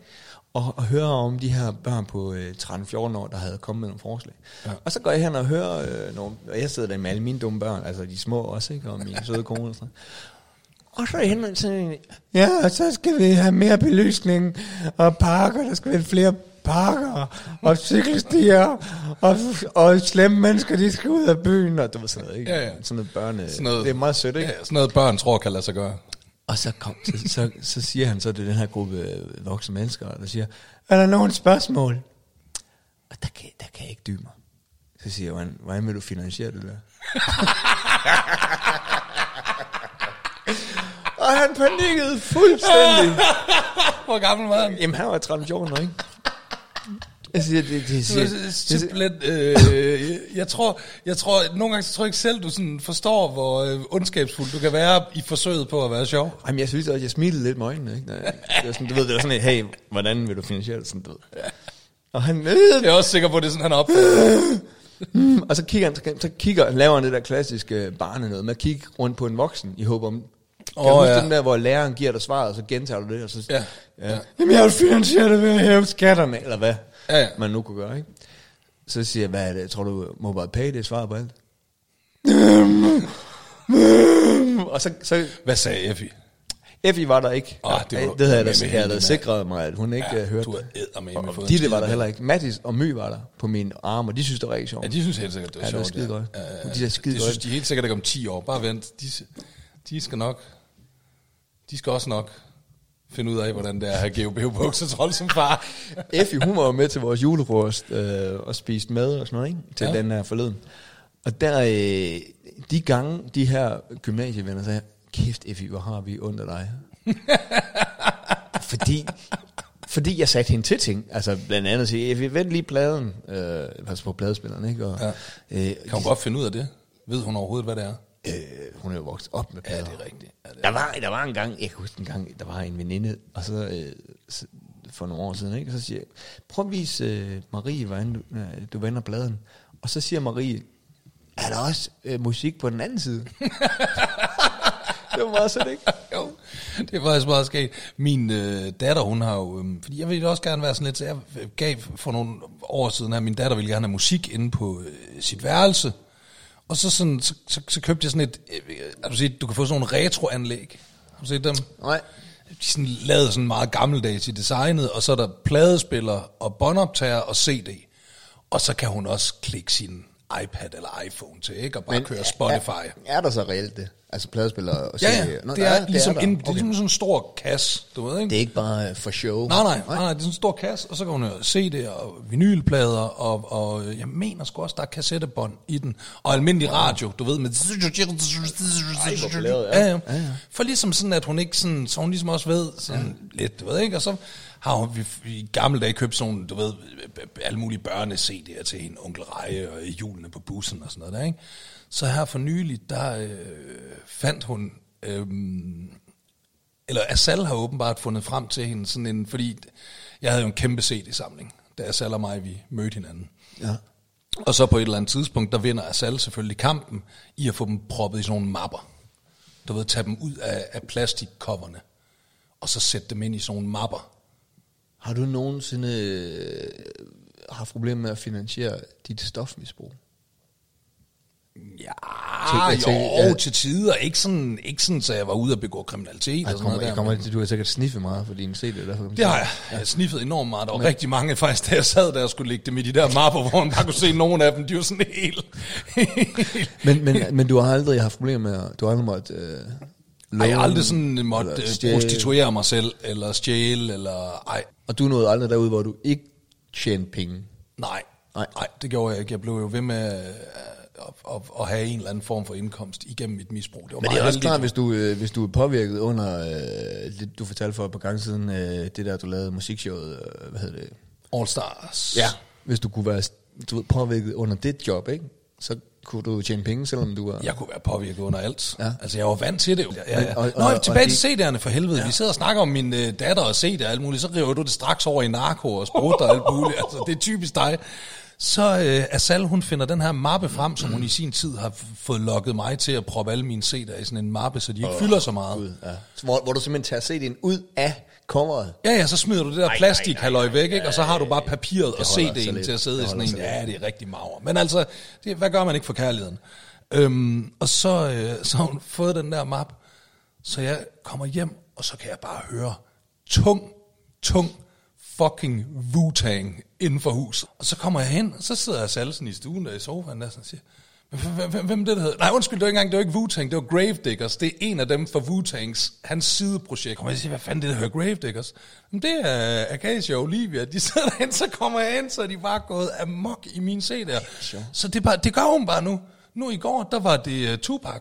og, og høre om de her børn på øh, 13-14 år, der havde kommet med nogle forslag. Ja. Og så går jeg hen og hører øh, nogle, og jeg sidder der med alle mine dumme børn, altså de små også, ikke, og min søde kone og sådan noget. Og så er jeg hen og sådan, en, ja, og så skal vi have mere belysning, og parker, der skal være flere parker, og cykelstier, og, og slemme mennesker, de skal ud af byen, og du ved sådan noget, ikke?
Ja, ja.
Sådan noget børne,
Sådan noget-
det er meget sødt, ikke?
Ja, sådan noget børn tror kan lade sig gøre.
Og så, kom, så, så, så siger han så til den her gruppe øh, voksne mennesker, der siger, er der nogen spørgsmål? Og der kan, der kan jeg ikke dybe mig. Så siger jeg, hvordan, hvordan vil du finansiere det der? og han panikkede fuldstændig.
Hvor gammel var han?
Jamen, han var 13 år, ikke? Jeg siger, det, det, det,
Det
det,
er
det,
simpelthen, øh, jeg tror, jeg tror, nogle gange så tror jeg ikke selv, du sådan forstår, hvor øh, ondskabsfuld du kan være i forsøget på at være sjov.
Jamen, jeg synes også, jeg smilede lidt med øjnene. Ikke? Når jeg- Det var sådan, du ved, det var sådan et, hey, hvordan vil du finansiere det? Sådan, du ved. Og han, øh,
Jeg er også sikker på, at det er sådan, han er op.
og så kigger han, så, så kigger, laver han det der klassiske barne noget med at kigge rundt på en voksen i håb om, kan
Åh,
oh, du huske
ja.
ja. den der, hvor læreren giver dig svaret, og så gentager du det, og så...
Ja.
ja. Jamen, jeg vil finansiere det ved at hæve skatterne, eller hvad
Ja, ja.
man nu kunne gøre, ikke? Så siger jeg, hvad er det? Tror du, mobile pay, det er svaret på alt? og så, så
Hvad sagde Effie?
Effie var der ikke.
Åh, det var-
det havde jeg da
med-
jeg
med
havde
hende,
sikret mig, at hun ikke ja, hørte
du har
det.
eddermame
Og- og
fået en
Ditte
skide
var der
med.
heller ikke. Mattis og My var der på min arm, og de synes, det var rigtig sjovt.
Ja, de synes helt sikkert, det var
Ja, det var
sjovt.
skidegodt.
Ja, ja, ja.
De er skidegodt.
Det synes de helt sikkert ikke om 10 år. Bare vent. De, de skal nok... De skal også nok finde ud af, hvordan det er at have GOB bukser trold som far.
Effie, hun var jo med til vores julefrokost øh, og spiste med og sådan noget, ikke? Til
Ja.
ja. den her forleden. Og der, øh, de gange, de her gymnasievenner sagde, kæft Effie, hvor har vi under dig. fordi, fordi jeg satte hende til ting. Altså blandt andet sige, Effie, vent lige pladen. Øh, altså på pladespilleren, ikke? Og,
Ja.
øh,
Kan hun godt finde ud af det? Ved hun overhovedet, hvad det er?
Øh, hun er jo vokset op med plader.
Ja, det er rigtigt. Ja, det
Der var, der var en gang, jeg kan huske en gang, der var en veninde, og så øh, så- for nogle år siden, ikke? så siger jeg, prøv at vise øh, Marie, hvordan du, øh, du vender bladen. Og så siger Marie, er der også øh, musik på den anden side? det var meget sødt, ikke?
Jo, det er faktisk meget skægt. Min øh, datter, hun har jo... Øh, fordi jeg ville også gerne være sådan lidt... Så jeg gav for nogle år siden her, min datter ville gerne have musik inde på øh, sit værelse. Og så, sådan, så, så, så købte jeg sådan et... Øh, har du set, du kan få sådan nogle retroanlæg. Har du set dem?
Nej.
De er sådan, lavet sådan meget gammeldags i designet, og så er der pladespiller og båndoptager og CD. Og så kan hun også klikke sin iPad eller iPhone til, ikke? Og bare Men, køre Spotify.
Er, er der så reelt det? Altså pladespillere og
Ja, ja. Det er, ligesom, en, det er ligesom sådan en stor kasse, du ved, ikke?
er ikke bare øh, for show.
Nej, nej, nej, nej, det er sådan en stor kasse, og så kan hun høre CD'er og vinylplader, og, og øh, jeg mener sgu også, der er kassettebånd i den, og almindelig radio, du ved, med...
blæret, ja.
ja, ja. For ligesom sådan, at hun ikke sådan, så hun ligesom også ved sådan lidt, du ved ikke, og så har hun vi- i gamle dage købt sådan, nogle, du ved, alle mulige børne-CD'er til hende, onkel Reje og julene på bussen og sådan noget der, ikke? Så her for nylig, der øh, fandt hun... Øh, eller Asal har åbenbart fundet frem til hende, sådan en, fordi jeg havde jo en kæmpe CD-samling, da Asal og mig, vi mødte hinanden.
Ja.
Og så på et eller andet tidspunkt, der vinder Asal selvfølgelig kampen i at få dem proppet i sådan nogle mapper. Du ved, tage dem ud af, af plastikkopperne, og så sætte dem ind i sådan nogle mapper.
Har du nogensinde øh, haft problemer med at finansiere dit stofmisbrug?
Ja, til,
Til- til-
jo,
ja.
til tider. Ikke sådan, ikke sådan, så jeg var ude og begå kriminalitet. og
Jeg
sådan
kommer,
noget
jeg
der,
kommer,
men-
du har sikkert sniffet meget for din CD. Derfor
Det har jeg. Jeg har sniffet enormt meget. Der var rigtig mange faktisk, da jeg sad der og skulle ligge dem i de der mapper, hvor man bare kunne se nogle af dem. De var sådan helt...
Men, men, men du har aldrig haft problemer med, at- du har aldrig måttet... Øh,
Ej, jeg
låne
har aldrig sådan måtte
eller
øh,
stjæle.
prostituere mig selv, eller stjæle, eller... Ej,
Og du nåede aldrig derud, hvor du ikke tjente penge.
nej.
Nej.
Nej, det gjorde jeg ikke. Jeg blev jo ved med øh, at, at, at have en eller anden form for indkomst igennem mit misbrug. Det var
Men det
meget
er også
heldigt.
klart, hvis du, øh, hvis du er påvirket under øh, det, du fortalte for et par gange siden, øh, det der, du lavede musikshowet, øh, hvad hedder det?
All Stars.
Hvis du kunne være du ved, påvirket under dit job, ikke? Så kunne du tjene penge, selvom du var...
Jeg kunne være påvirket under alt. Ja.
Ja.
Altså, jeg var vant til det. jo. Ja, ja.
Men- og-
Nå,
og-
tilbage
og
til CD'erne for helvede. Ja. Vi sidder og snakker om min øh, datter og CD'er og alt muligt. Så river du det straks over i narko og sprut og alt muligt. Altså, det er typisk dig. Så øh, Asal, hun finder den her mappe frem, som hun i sin tid har f- fået lokket mig til at proppe alle mine CD'er i sådan en mappe, så de ikke oh, fylder så meget.
Ud, ja. Så hvor, hvor du simpelthen tager CD'en ud af coveret.
Ja, ja, så smider du det der plastik halløj væk, ikke? og så har du bare papiret og
holder så
CD'en
lidt.
til at sidde i
Det
sådan
holder
en.
så lidt.
Ja, det er rigtig maver. Men altså, det, hvad gør man ikke for kærligheden? Øhm, og så, øh, så har hun fået den der map, så jeg kommer hjem, og så kan jeg bare høre tung, tung fucking Wu-Tang inden for huset. Og så kommer jeg hen, og så sidder jeg salsen i stuen der i sofaen der, sådan, og siger, "Hvem- hvem- hvem er det, der hedder? Nej, undskyld, det var ikke engang, det var ikke Wu-Tang, det var Gravediggers. Det er en af dem fra Wu-Tangs, hans sideprojekt. Kommer jeg og siger, hvad fanden er det, der hedder Gravediggers? Jamen, det er øh, Acacia og Olivia. De sidder derhen, så kommer jeg ind, så er de bare gået amok i min CD'er. Så det, er bare, det gør hun bare nu. Nu i går, der var det øh, Tupac.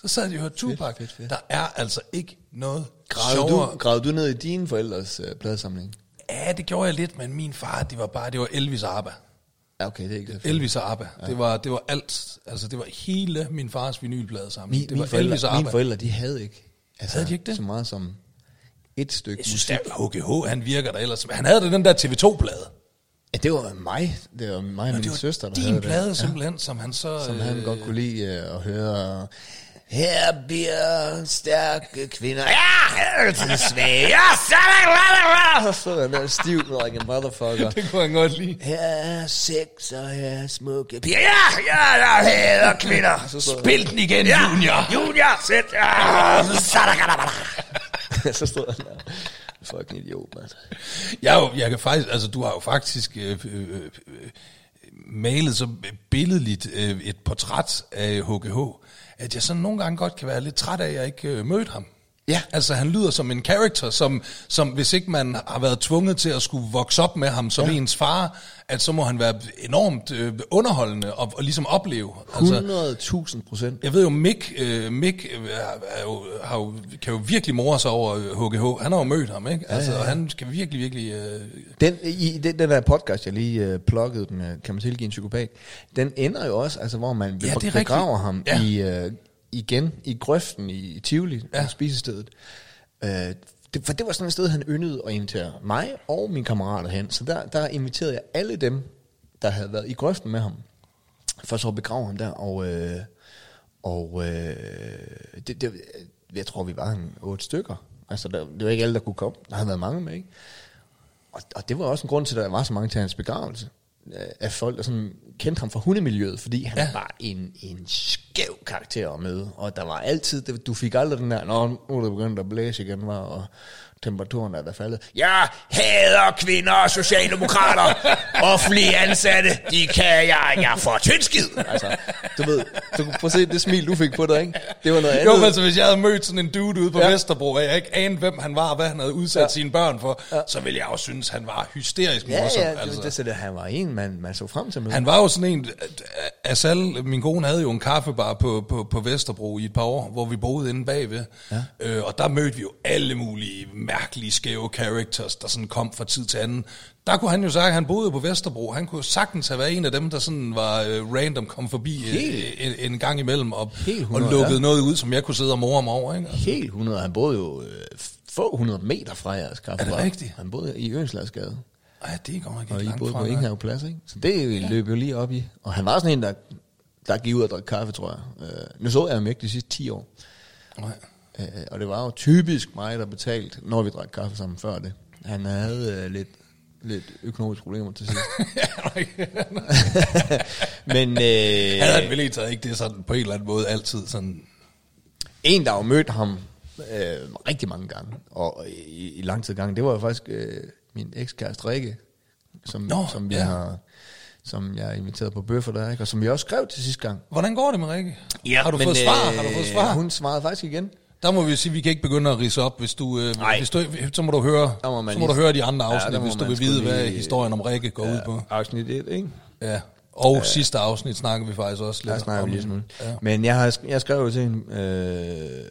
Så sad de og hørte Tupac. Fedt, fedt,
fedt,
fedt.
fedt.
Der er altså ikke noget
Gravede
sjovere.
du, gravede du ned i dine forældres øh, pladesamling?
Ja, ja, det gjorde jeg lidt, men min far, det var bare, det var Elvis og ABBA.
Ja, okay, det er ikke det.
Elvis og ABBA. Ja. Det, var, det var alt. Altså, det var hele min fars vinylplade sammen.
Min,
det var
mine, forældre, mine
ABBA.
forældre, de havde ikke. Altså,
Havde de ikke det?
Så meget som et stykke
Jeg synes, at HGH, han virker der ellers. Han havde da den der TV2-plade.
Ja, det var mig. Det var mig og
Det
min
var
søster, der
din
havde
plade,
det.
simpelthen, som han så... øh,
Som han godt kunne lide øh, at høre. Her bliver stærke kvinder. Ja, her til svage. Ja, sådan. la, la, la. Og Så er der stiv like a motherfucker.
Det kunne han godt lide.
Her er sex, og her er smukke piger. Ja, ja, jeg hader kvinder. Så stod,
Spil den igen, ja. Junior!
Junior, sæt. Ja, sådan. la, la, la. Så stod han der. Fucking idiot, mand.
Jeg, er jo- jeg kan faktisk, altså du har jo faktisk øh, øh, øh, øh, malet så billedligt øh, et portræt af HGH, at jeg sådan nogle gange godt kan være lidt træt af, at jeg ikke øh, mødte ham.
Ja.
Altså han lyder som en karakter, som, som hvis ikke man har været tvunget til at skulle vokse op med ham som ja. ens far, at så må han være enormt øh, underholdende og, og ligesom opleve. Altså,
100.000 procent.
jeg ved jo, Mick, øh, Mick øh, er, er jo, har jo, kan jo virkelig more sig over øh, HGH. Han har jo mødt ham, ikke? Altså, ja, ja, ja. Og han kan virkelig, virkelig... Øh,
Den, i, den, den der podcast, jeg lige øh, plukkede den, øh, kan man tilgive en psykopat, den ender jo også, altså, hvor man
det er
ja,
rigtigt.
begraver ham
Ja.
ja. i, øh, igen i grøften i, i Tivoli, ja. spisestedet. Øh, det, for det var sådan et sted, han yndede at invitere mig og mine kammerater hen. Så der, der inviterede jeg alle dem, der havde været i grøften med ham, for så at begrave ham der. Og, øh, og øh, det, det, jeg tror, vi var en otte stykker. Altså, der, det var ikke alle, der kunne komme. Der havde været mange med, ikke? Og, og det var også en grund til, at der var så mange til hans begravelse. øh, Af folk, der sådan kendte ham fra hundemiljøet, fordi han
Ja.
ja. var en, en skæv karakter at møde. Og der var altid, det- du fik aldrig den der, Nå, nu er det begyndt at blæse igen, var, og temperaturen er der faldet. Jeg hader kvinder og socialdemokrater. Offentlige ansatte, de kan jeg, jeg får tyndskid. Altså, du ved, du kunne prøve at se det smil, du fik på dig, ikke? Det var noget andet.
jo, men altså, hvis jeg havde mødt sådan en dude ude på ja.
Ja.
Vesterbro, og jeg ikke anede, hvem han var, og hvad han havde udsat ja.
Ja.
sine børn for, ja. så ville jeg også synes, han var hysterisk
ja,
morsom.
ja, det, altså.
altså.
det, så det, han var en, man, man så frem til at møde.
Han var jo sådan en... at- at Asal, min kone, havde jo en kaffebar på, på, på Vesterbro i et par år, hvor vi boede inde bagved. Ja. Øh, og der mødte vi jo alle mulige mærkelige, skæve characters, der sådan kom fra tid til anden. Der kunne han jo sagt, at han boede på Vesterbro. Han kunne sagtens have været en af dem, der sådan var øh, random, kom forbi øh, en, en gang imellem og,
Helt
og
100,
lukkede
ja.
noget ud, som jeg kunne sidde og morre mig over. Ikke?
Helt 100. Han boede jo øh, få hundrede meter fra jeres kaffebar.
rigtigt?
Han boede i Øenslagsgade.
Ej, det går ikke
Og I
langt
boede
fra.
på
nej.
Ingenhav Plads, ikke? Så det ja. løb jo lige op i. Og han var sådan en, der, der gik ud og drak kaffe, tror jeg. Øh, nu så jeg ham ikke de sidste 10 år.
Nej.
Øh, og det var jo typisk mig, der betalte, når vi drak kaffe sammen før det. Han havde øh, lidt, lidt økonomiske problemer til sidst. Men øh,
Han havde vel ikke taget ikke det sådan på en eller anden måde altid sådan...
En, der har jo mødt ham øh, rigtig mange gange, og i, i lang tid gange, det var jo faktisk øh, min ekskæreste Rikke, som,
Nå,
som, jeg
ja.
har, som jeg har inviteret på bøffer der, ikke? og som jeg også skrev til sidste gang.
Hvordan går det med Rikke? Ja, har du fået svar? Har du fået svar?
øh, Hun svarede faktisk igen.
Der må vi jo sige, at vi kan ikke begynde at rise op, hvis du, øh, hvis du så må du høre,
Der må man
så må du
lige-
høre de andre
Ja,
afsnit,
der
ja,
må
hvis du
man
vil
sgu
vide, hvad
lige-
historien om Rikke går ja. ud på.
Afsnit 1, ikke?
Ja. Og sidste afsnit snakker vi faktisk også lidt
Der snakker vi lige sådan.
Ja.
Ja. Men jeg, har, sk- jeg skrev jo til hende øh,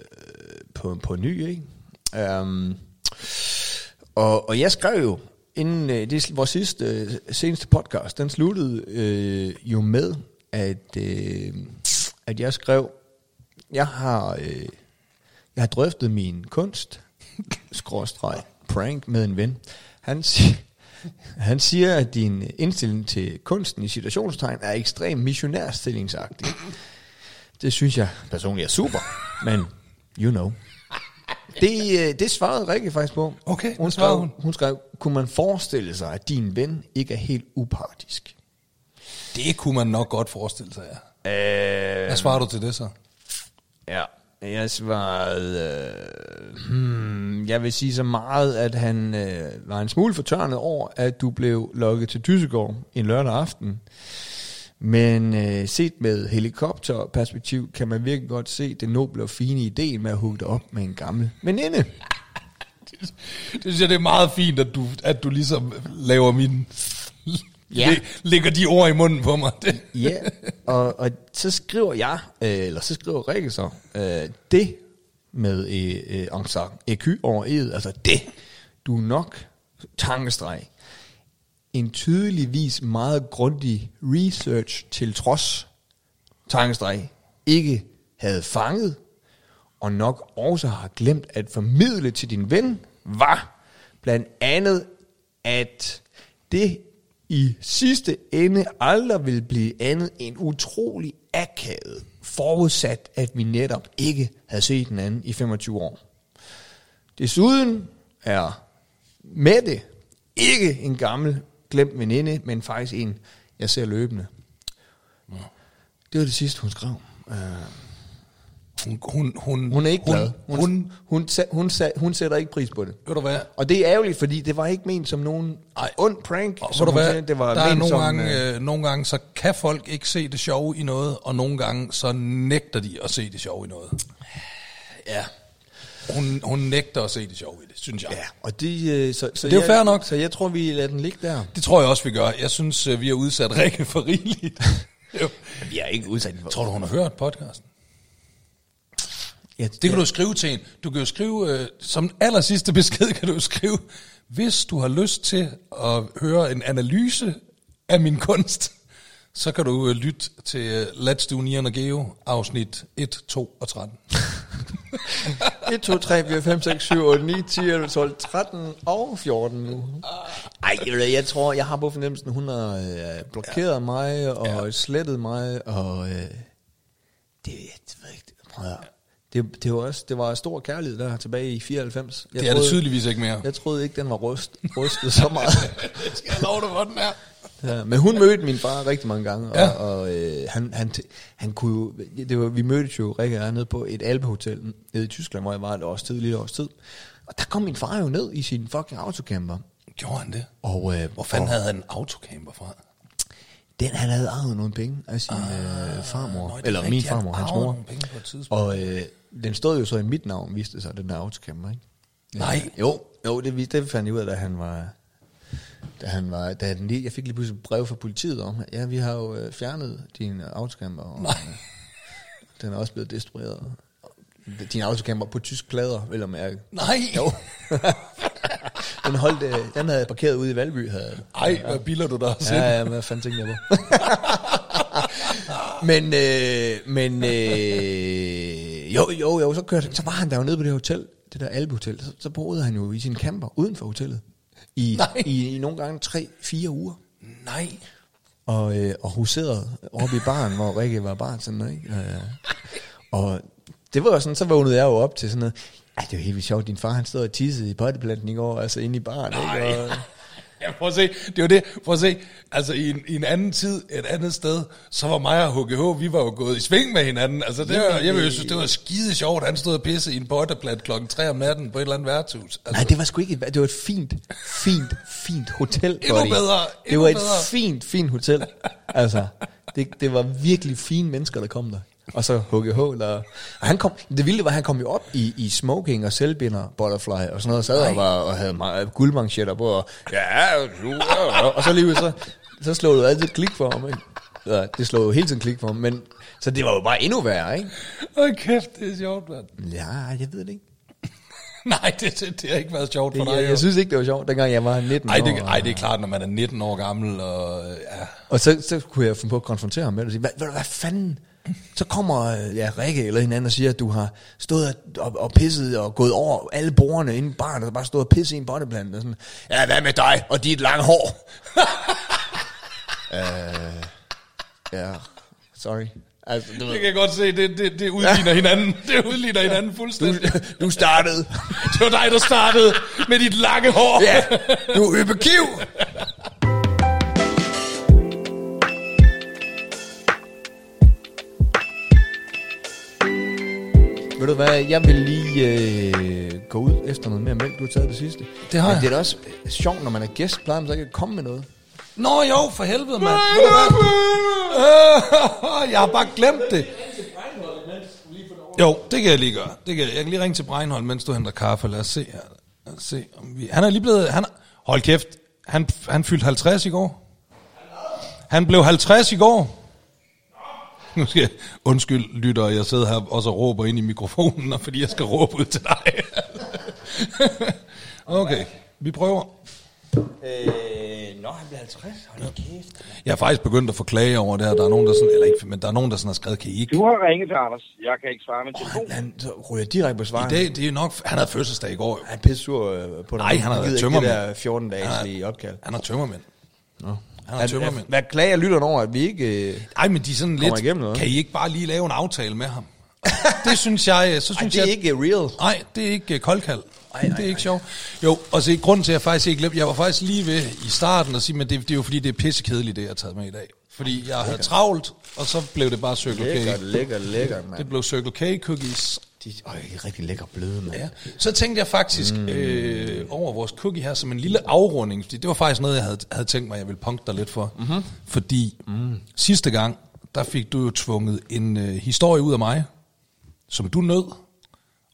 på, på ny, ikke? Um, og, og jeg skrev jo, inden øh, det, er vores sidste, øh, seneste podcast, den sluttede øh, jo med, at, øh, at jeg skrev, jeg har, øh, jeg har drøftet min kunst, skråstreg, prank med en ven. Han siger, han siger, at din indstilling til kunsten i situationstegn er ekstremt missionærstillingsagtig. Det synes jeg personligt er super, men you know. Det, øh, det svarede Rikke faktisk på.
Okay, hvad
hun
svarede
skrev,
hun?
hun skrev, kunne man forestille sig, at din ven ikke er helt upartisk?
Det kunne man nok godt forestille sig, ja.
Øh,
Hvad svarer du til det så?
Ja. Jeg svarede, øh, hmm, jeg vil sige så meget, at han øh, var en smule fortørnet over, at du blev lokket til Tyssegård en lørdag aften. Men øh, set med helikopterperspektiv, kan man virkelig godt se det noble og fine idé med at hugge dig op med en gammel veninde.
Det synes jeg, det er meget fint, at du, at du ligesom laver min...
Ja.
Læ- Lægger de ord i munden på mig. Det.
Ja, og, og så skriver jeg, øh, eller så skriver Rikke så, øh, E det med øh, øh, om så EQ over E'et, altså det, du er nok tankestreg, en tydeligvis meget grundig research til trods, tankestreg, ikke havde fanget, og nok også har glemt at formidle til din ven, var blandt andet, at det i sidste ende aldrig vil blive andet end utrolig akavet, forudsat at vi netop ikke havde set den anden i 25 år. Desuden er Mette ikke en gammel glemt veninde, men faktisk en, jeg ser løbende. Det var det sidste, hun skrev. Øh,
Hun, hun, hun,
Hun er ikke glad.
Hun, hun,
hun, hun, sa- hun, sa- hun sætter ikke pris på det.
ved du hvad?
Og det er ærgerligt, fordi det var ikke ment som nogen Ej. ond prank.
Og
som
ved du
hun
hvad?
siger. det var
der er
ment
nogle
som, øh,
gange, øh, nogle gange, så kan folk ikke se det sjove i noget, og nogle gange, så nægter de at se det sjove i noget.
ja.
Hun, hun nægter at se det sjove i det, synes jeg.
ja. Og de, øh, så, så
det er jo
jeg,
fair nok.
Så jeg tror, vi lader den ligge der.
Det tror jeg også, vi gør. Jeg synes, øh, vi har udsat Rikke for rigeligt. Jo.
Vi er ikke udsat for.
Tror du, hun har hørt podcasten?
Ja,
Det kan du jo skrive til en. Du kan jo skrive, øh, som den aller sidste besked kan du jo skrive, hvis du har lyst til at høre en analyse af min kunst, så kan du øh, lytte til øh, Let's Do Nian og Geo, afsnit 1, 2 og 13.
1, 2, 3, 4, 5, 6, 7, 8, 9, 10, 11, 12, 13 og 14 nu. Ej, ved du hvad, jeg tror, jeg har på fornemmelsen, hun har øh, blokeret ja. mig og ja. slettet mig, og øh, det, det ved jeg ikke, prøv at høre. det, det, var også, det var stor kærlighed der tilbage i 94. Jeg
Det er det tydeligvis ikke mere.
Jeg troede ikke, den var rust, rustet så meget.
Det skal jeg love dig, hvor den er.
Ja, men hun mødte min far rigtig mange gange, og,
Ja.
ja. og øh, han, han, t- han kunne jo, det var, vi mødtes jo, Rikke og jeg, nede på et alpehotel nede i Tyskland, hvor jeg var et års tid, lille års tid. Og der kom min far jo ned i sin fucking autocamper.
Gjorde han det?
Og, øh,
Hvor fanden havde han en autocamper fra?
Den, han havde arvet nogle penge af sin øh, farmor,
Ah, Nå, det er
eller min
rigtigt, han
farmor, hans
arvede
mor.
nogle penge på et tidspunkt.
Og øh, den stod jo så i mit navn, viste det sig, den der autocamper, ikke?
Nej.
Jo, jo det, vi- det fandt jeg ud af, da han var... Da han var da den lige, jeg fik lige pludselig et brev fra politiet om, at ja, vi har jo øh, fjernet din øh, autocamper, og
Nej.
øh, den er også blevet destrueret. Din autocamper på tysk plader, vil jeg mærke.
Nej. Jo.
Den, holdt, øh, den havde jeg parkeret ude i Valby, havde jeg.
Ej, hvad biler du der selv?
Ja, ja, men hvad fanden tænkte jeg på? men, øh, men øh, jo, jo, jo, så, kørte, så var han der jo nede på det hotel, det der Alpehotel, så, så boede han jo i sin camper uden for hotellet. I,
Nej.
i, i nogle gange tre, fire uger.
Nej.
Og, øh, og huserede oppe i baren, hvor Rikke var bartender, ikke? Øh, og det var jo sådan, så vågnede jeg jo op til sådan noget, Ej, det er jo helt vildt sjovt, din far han stod og tissede i potteplanten i går, altså inde i baren, ikke? Og,
Ja, prøv at se, det var det, prøv at se, altså i en, i en anden tid, et andet sted, så var mig og HGH, vi var jo gået i sving med hinanden, altså det var, jeg vil jo synes, det var skide sjovt, han stod og pissede i en potterplat klokken 3 om natten på et eller andet værtshus. Altså,
Nej, det var sgu ikke et, vær- det var et fint, fint, fint hotel.
Endnu
buddy.
bedre,
Det
endnu
var et
bedre.
fint, fint hotel. Altså, det, det var virkelig fine mennesker, der kom der. Og så HGH, der... Og han kom, det vilde var, at han kom jo op i, i smoking og selvbinder, butterfly og sådan noget, og sad og, var, og havde meget guldmanchetter på, og, ja, jo, ja, ja. og så lige ud, så, så slog du altid klik for ham, ikke? Ja, det slog jo hele tiden klik for ham, men, så det var jo bare endnu værre, ikke?
Åh, kæft, det er sjovt, mand.
Ja, jeg ved det ikke.
Nej, det, det, det har ikke været sjovt for
Det,
dig.
jeg,
jo.
jeg synes ikke, det var sjovt, dengang jeg var 19
ej,
år.
det,
og-
ej, det er klart, når man er 19 år gammel, og øh, ja.
Og så, så kunne jeg finde på at konfrontere ham med det og sige, hvad, ved du hvad fanden? Så kommer øh, ja, Rikke eller en anden og siger, at du har stået og, og, og pisset og gået over alle borgerne inde i barnet, og bare stået og pisset i en botteplant. Og sådan, ja, hvad med dig og dit lange hår? øh, ja, sorry. Altså, du,
Det
ved,
kan jeg godt se, det, det, det udligner hinanden, det udligner hinanden fuldstændig.
du, du startede.
Det var dig, der startede med dit lange hår.
ja, du er yppekiv. Ved du hvad, jeg vil lige øh, gå ud efter noget mere mælk, du har taget det sidste.
Det har
Men
jeg.
det er da også øh, sjovt, når man er gæst, plejer man så ikke at komme med noget.
Nå jo, for helvede, mand. Ved du hvad? Øh, jeg har bare glemt det. Jo, det kan jeg lige gøre. Det kan jeg. jeg kan lige ringe til Breinholt, mens du henter kaffe. Lad os se her. Lad os se, om vi... Han er lige blevet... Han... Hold kæft. Han, han fyldte 50 i går. Han blev 50 i går. Nu skal jeg... Undskyld, lytter, jeg sidder her og så råber ind i mikrofonen, og fordi jeg skal råbe ud til dig. okay, vi prøver.
Øh, nå, han bliver 50. Hold da kæft.
Jeg er faktisk begyndt at forklage over det her. Der er nogen, der sådan, eller ikke, men der er nogen, der sådan har skrevet, kan I ikke?
Du har ringet til Anders. Jeg kan ikke svare med telefon.
Han så ryger direkte på svaren.
I dag, det er nok, han havde fødselsdag i går. jo.
Han er pisse sur øh, på dig.
Nej, han har
gider ikke
tømmermænd.
det der 14 dages lige opkald.
Han har tømmermænd. Han har
Han, han,
tømmermænd.
hvad klager lytteren over, at vi ikke... Øh,
Ej, men de er sådan
Kommer
lidt,
igennem noget.
kan I ikke bare lige lave en aftale med ham? det synes jeg, øh, så synes
ej, det
jeg...
er ikke real.
Nej, det er ikke øh, koldkald. det er ikke sjovt. Jo, og se, grunden til, at jeg faktisk ikke glemte, jeg var faktisk lige ved i starten at sige, men det, det er jo fordi, det er pissekedeligt, det jeg har taget med i dag. Fordi jeg havde travlt, og så blev det bare Circle
Lækker,
K.
lækker, lækker,
Det
mand.
blev Circle K cookies.
De, øj, de er rigtig lækker bløde, mand.
Ja. Så tænkte jeg faktisk mm. øh, over vores cookie her som en lille afrunding, fordi det var faktisk noget, jeg havde, havde tænkt mig, jeg ville punkte dig lidt for. Mm-hmm.
Mhm.
Fordi mm. sidste gang, der fik du jo tvunget en øh, historie ud af mig, som du nød,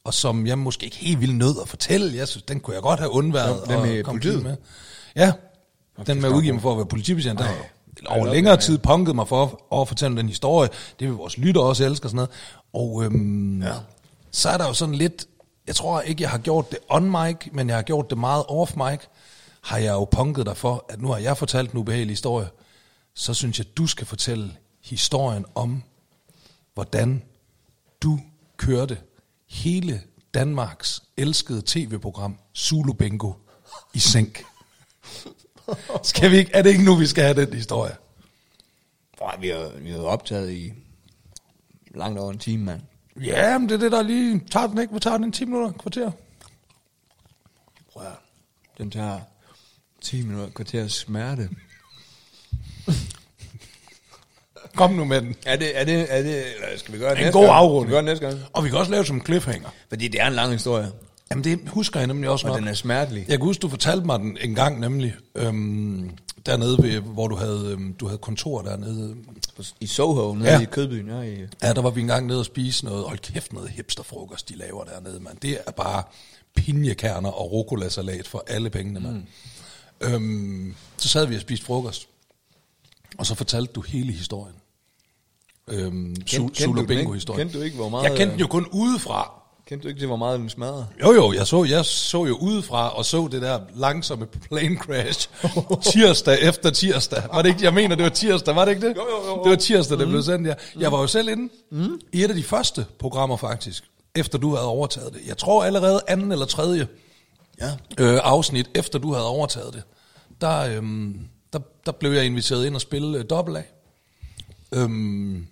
og som jeg måske ikke helt ville nød at fortælle. Jeg synes, den kunne jeg godt have undværet.
Den- den
og
med
komme
politiet?
til Med. Ja, den med udgivet for at være politibetjent. Der over
love
længere tid punket mig for at fortælle den historie. Det vil vores lytter også elske og sådan noget. Og øhm, ja. så er der jo sådan lidt, jeg tror ikke, jeg har gjort det on mic, men jeg har gjort det meget off mic, har jeg jo punket dig for, at nu har jeg fortalt en ubehagelig historie. Så synes jeg, du skal fortælle historien om, hvordan du kørte hele Danmarks elskede tv-program Zulu Bingo i sænk. Skal vi ikke, er det ikke nu, vi skal have den historie?
Boy, vi har, vi har optaget i langt over en time, mand.
Ja, men det er det, der lige tager den ikke. Hvor tager den? 10 minutter? Kvarter?
Prøv at, den tager 10 minutter et kvarter smerte.
Kom nu med den.
Er det, er det, er det, eller skal vi gøre det
En
næste
god
gang?
afrunding.
Skal vi gøre det næste gang?
Og vi kan også lave det som cliffhanger.
Fordi det er en lang historie,
Jamen, det husker jeg nemlig også
og
nok.
den er smertelig.
Jeg kan huske, du fortalte mig den en gang nemlig, øhm, dernede, ved, hvor du havde, øhm, du havde kontor dernede.
I Soho, nede
Ja.
i Kødbyen, ja, i
Ja, der var vi engang nede og spise noget. Hold kæft, noget hipsterfrokost, de laver dernede, mand. Det er bare pinjekerner og rucolasalat for alle pengene, mand. Mm. Øhm, så sad vi og spiste frokost, og så fortalte du hele historien. Øhm,
kendte du
Sula
den ikke?
Bingo-historien.
Kendte du ikke, hvor meget, øh,
Jeg kendte den jo kun udefra.
Kendte du ikke til, hvor meget den smadrer?
Jo, jo, jeg så, jeg så jo udefra og så det der langsomme plane crash tirsdag efter tirsdag. Var det ikke, jeg mener, det var tirsdag, var det ikke det? Jo, jo, jo. Det var tirsdag, det blev sendt, ja. Jeg var jo selv inde mm. i et af de første programmer faktisk, efter du havde overtaget det. Jeg tror allerede anden eller tredje
Ja.
øh, afsnit, efter du havde overtaget det, der, øhm, der, der blev jeg inviteret ind og spille øh, dobbelt af. Øhm,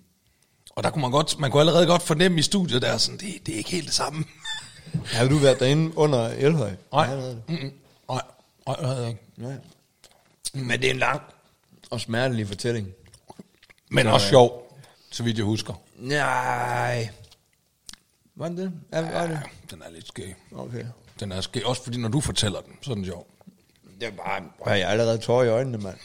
og der kunne man godt, man kunne allerede godt fornemme i studiet der, sådan, det, det er ikke helt det samme.
Har du været derinde under Elhøj?
Nej.
det havde du.
Mm-mm. Nej, nej, det havde jeg ikke.
Nej.
Men det er en lang,
Og smertelig fortælling.
men også sjov, så vidt jeg husker.
Nej. Var den det? Ja, var det?
Den er lidt skæg.
Okay.
Den er skæg, også fordi når du fortæller den, så er den sjov.
Det var bare... Prøv, jeg har allerede tårer i øjnene, mand.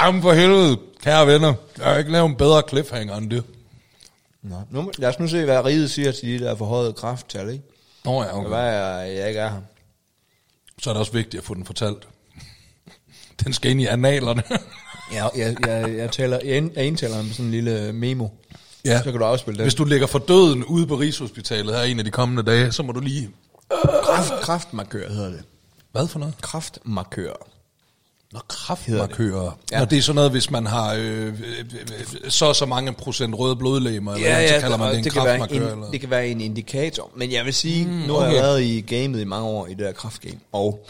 Jamen for helvede, kære venner. Jeg har ikke lavet en bedre cliffhanger end det.
Nå. Nu, må- lad os nu se, hvad riget siger til de der forhøjede krafttal, ikke?
Nå ja,
Det
okay.
var, jeg, jeg ikke er her.
Så er det også vigtigt at få den fortalt. Den skal ind i analerne.
Jeg, jeg, jeg, jeg, taler, jeg, ind- jeg indtaler om sådan en lille øh, memo.
ja.
Så kan du afspille den.
Hvis du ligger for døden ude på Rigshospitalet her en af de kommende dage, så må du lige...
Kraft, kraftmarkør hedder det.
Hvad for noget?
Kraftmarkør.
Nå,
hedder
kraftmarkører.
Ja.
Ja. Når det er sådan noget, hvis man har øh, øh, øh, så og så mange procent røde blodlegemer, eller ja, så kalder man
og
det en
kan være
kraftmarkør.
en,
eller?
det kan være en indikator. Men jeg vil sige, mm, nu har
okay.
jeg været i gamet i mange år, i det der kraftgame, og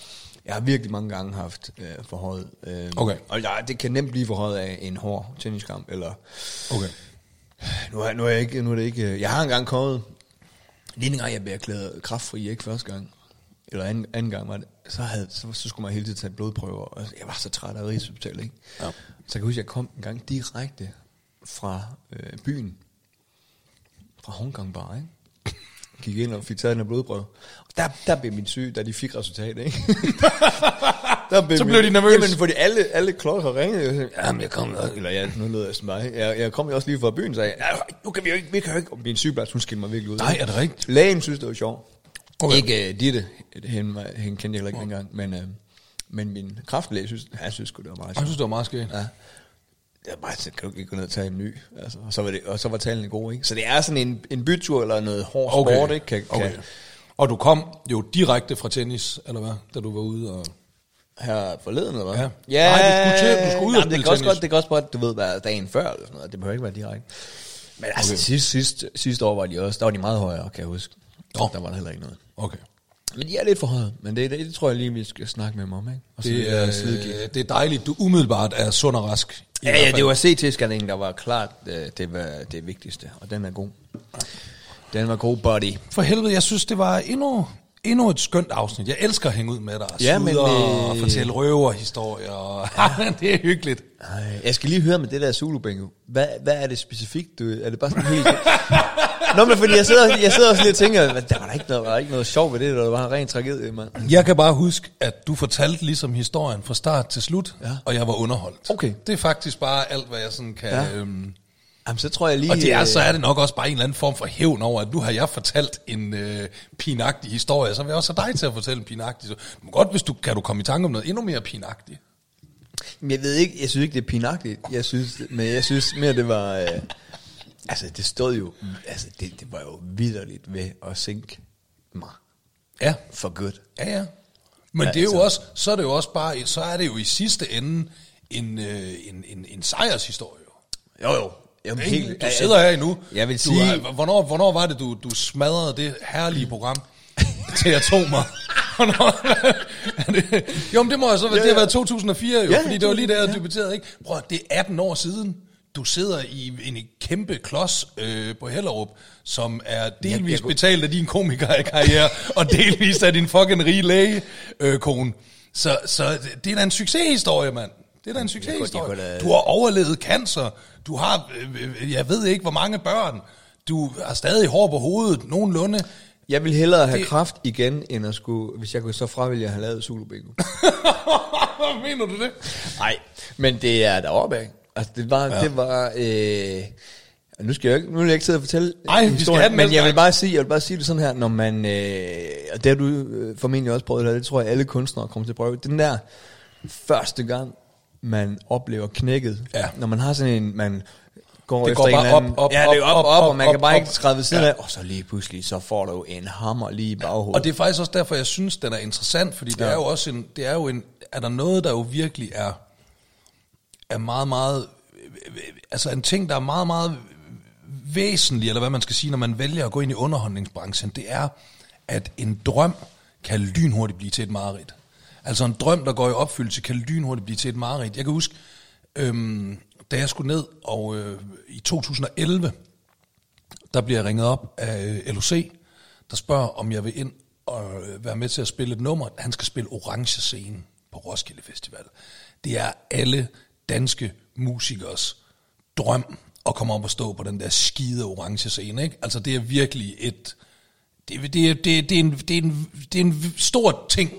jeg har virkelig mange gange haft øh, forhøjet. Øh,
Okay.
Og der, det kan nemt blive forhøjet af en hård tenniskamp, eller
Okay.
nu er, nu er jeg ikke, nu er det ikke, øh, jeg har engang kommet, lige en gang jeg blev erklæret kraftfri, ikke første gang, eller anden, anden gang var det, så, havde, så, så skulle man hele tiden tage blodprøver, og altså, jeg var så træt af Rigshospitalet, ikke? Ja. Så jeg kan huske, jeg kom en gang direkte fra øh, byen, fra Hongkong bare, ikke? Gik ind og fik taget den her blodprøve. Og der, der blev min syg, da de fik resultatet, ikke? der
Så blev de nervøse.
Jamen, fordi alle, alle klokker ringede. Jeg sagde, Jamen, jeg kom nok. Eller ja, nu lød jeg som dig. Jeg, jeg kom jo også lige fra byen, så jeg, "Nej, nu kan vi jo ikke, vi kan jo ikke. Og min sygeplejerske, hun skilte mig virkelig ud.
Nej, er det rigtigt?
Lægen synes, det var sjovt.
Okay.
Okay. Ikke uh, Ditte, hende, var- hende kendte jeg heller ikke dengang, men, uh, men min kraftlæge synes, han synes sgu, det var meget
Jeg
sjovt.
synes, det var meget skægt.
Ja. Jeg er bare sådan, kan du ikke gå ned og tage en ny? Altså, og, så var det, og så var tallene gode, ikke? Så det er sådan en, en bytur eller noget hård
Okay.
sport, ikke? Kan,
Okay.
kan,
Og du kom jo direkte fra tennis, eller hvad, da du var ude og...
her forleden, eller hvad?
Ja. Nej, du skulle til- du skulle ud og
Jamen,
spille
det kan også
tennis.
godt, det kan også godt, du ved, være dagen før, eller sådan noget. Det behøver ikke være direkte. Men altså, okay. sidste, sidste, sidste år var de også, der var de meget højere, kan jeg huske.
Nå.
Der var der heller ikke noget.
Okay.
Men de er lidt for høje, men det, det, det tror jeg lige, vi skal snakke med dem om, ikke? Og så lidt,
Det
øh,
er,
slidgigt.
øh, det er dejligt, du umiddelbart er sund og rask. i hvert
Ja, ja,
fald.
det var CT-scanningen, der var klart øh, det, var det vigtigste, og den er god. Den var god, buddy.
For helvede, jeg synes, det var endnu, endnu et skønt afsnit. Jeg elsker at hænge ud med dig. og
Ja, men,
sludre
øh,
Og fortælle røverhistorier. og- Ja, det er hyggeligt.
Ej, jeg skal lige høre med det der zulu bingo. Hvad, hvad er det specifikt? Du, er det bare sådan helt... Nå, men fordi jeg sidder, jeg sidder også lige og tænker, hvad- der var da ikke noget, var der ikke noget sjovt ved det, der var bare ren tragedie, mand.
Jeg kan bare huske, at du fortalte ligesom historien fra start til slut,
Ja.
og jeg var underholdt.
Okay.
Det er faktisk bare alt, hvad jeg sådan kan...
Ja.
Ja. Øhm,
Jamen, så tror jeg lige...
og det er,
øh,
så er det nok også bare en eller anden form for hævn over, at nu har jeg fortalt en øh, pinagtig historie, så vil jeg også have dig til at fortælle en pinagtig historie. Men godt, hvis du kan du komme i tanke om noget endnu mere pinagtigt.
Men øh, Jeg ved ikke, jeg synes ikke, det er pinagtigt. Jeg synes, men jeg synes mere, det var... Øh, altså, det stod jo... Altså, det, det var jo vidderligt ved at sænke mig
Ja.
for godt.
Ja, ja. Men
Ja,
ja, det er jo
altså.
også, så er det jo også bare, så er det jo i sidste ende en, øh, en, en, en sejrshistorie. jo.
Jo, jo. Jamen,
Ikke?
helt,
du sidder her endnu.
Jeg vil
du,
sige-
er- Hvornår, hvornår var det, du, du smadrede det herlige program til atomer? Hvornår- er det- jo, men det må jeg så være, ja, det har været 2004 jo,
Ja,
ja, fordi det var lige der, jeg debatterede, ikke? Prøv, det er 18 år siden, du sidder i en kæmpe klods øh, på Hellerup, som er delvis
jeg kunne-
betalt af din komikerkarriere, og delvis af din fucking rige læge, øh, kone. Så, så det er da en succeshistorie, mand. Det er da en
kunne da-
succeshistorie. Du har overlevet cancer. Du har, øh, øh, jeg ved ikke, hvor mange børn. Du har stadig hår på hovedet, nogenlunde.
Jeg ville hellere have
Det-
kraft igen, end at skulle... Hvis jeg kunne så fravælge at have lavet Zulu Bingo.
Mener du det?
Nej, men det er deroppe af. Altså, det var... Ja. Det var øh, nu skal jeg jo ikke, nu vil jeg ikke sidde og fortælle
Ej, vi skal have den
men
næste
jeg vil,
gang.
bare sige, jeg vil bare sige det sådan her, når man, øh, og det har du øh, formentlig også prøvet, og det tror jeg alle kunstnere kommer til at prøve, den der første gang, man oplever knækket,
Ja.
når man har sådan en, man går
Det
efter
går
en
bare
eller anden,
op, op,
ja, det er
op,
op, op,
op,
op,
op,
og man
op,
kan bare
op.
ikke træde ved siden af, og så lige pludselig, så får du en hammer lige i baghovedet.
Og det er faktisk også derfor, jeg synes, den er interessant, fordi det
Ja.
er jo også en, det er jo en, er der noget, der jo virkelig er, er meget, meget, altså en ting, der er meget, meget væsentlig, eller hvad man skal sige, når man vælger at gå ind i underholdningsbranchen, det er, at en drøm kan lynhurtigt blive til et mareridt. Altså en drøm, der går i opfyldelse, kan lynhurtigt blive til et mareridt. Jeg kan huske, øhm, da jeg skulle ned og øh, i 2011, der bliver jeg ringet op af øh, LOC, der spørger, om jeg vil ind og øh, være med til at spille et nummer. Han skal spille Orange Scene på Roskilde Festival. Det er alle danske musikers drøm at komme op og stå på den der skide orange scene. Ikke? Altså det er virkelig et... Det, er- det, er- det, er- det, er en, det, er en, det er en stor ting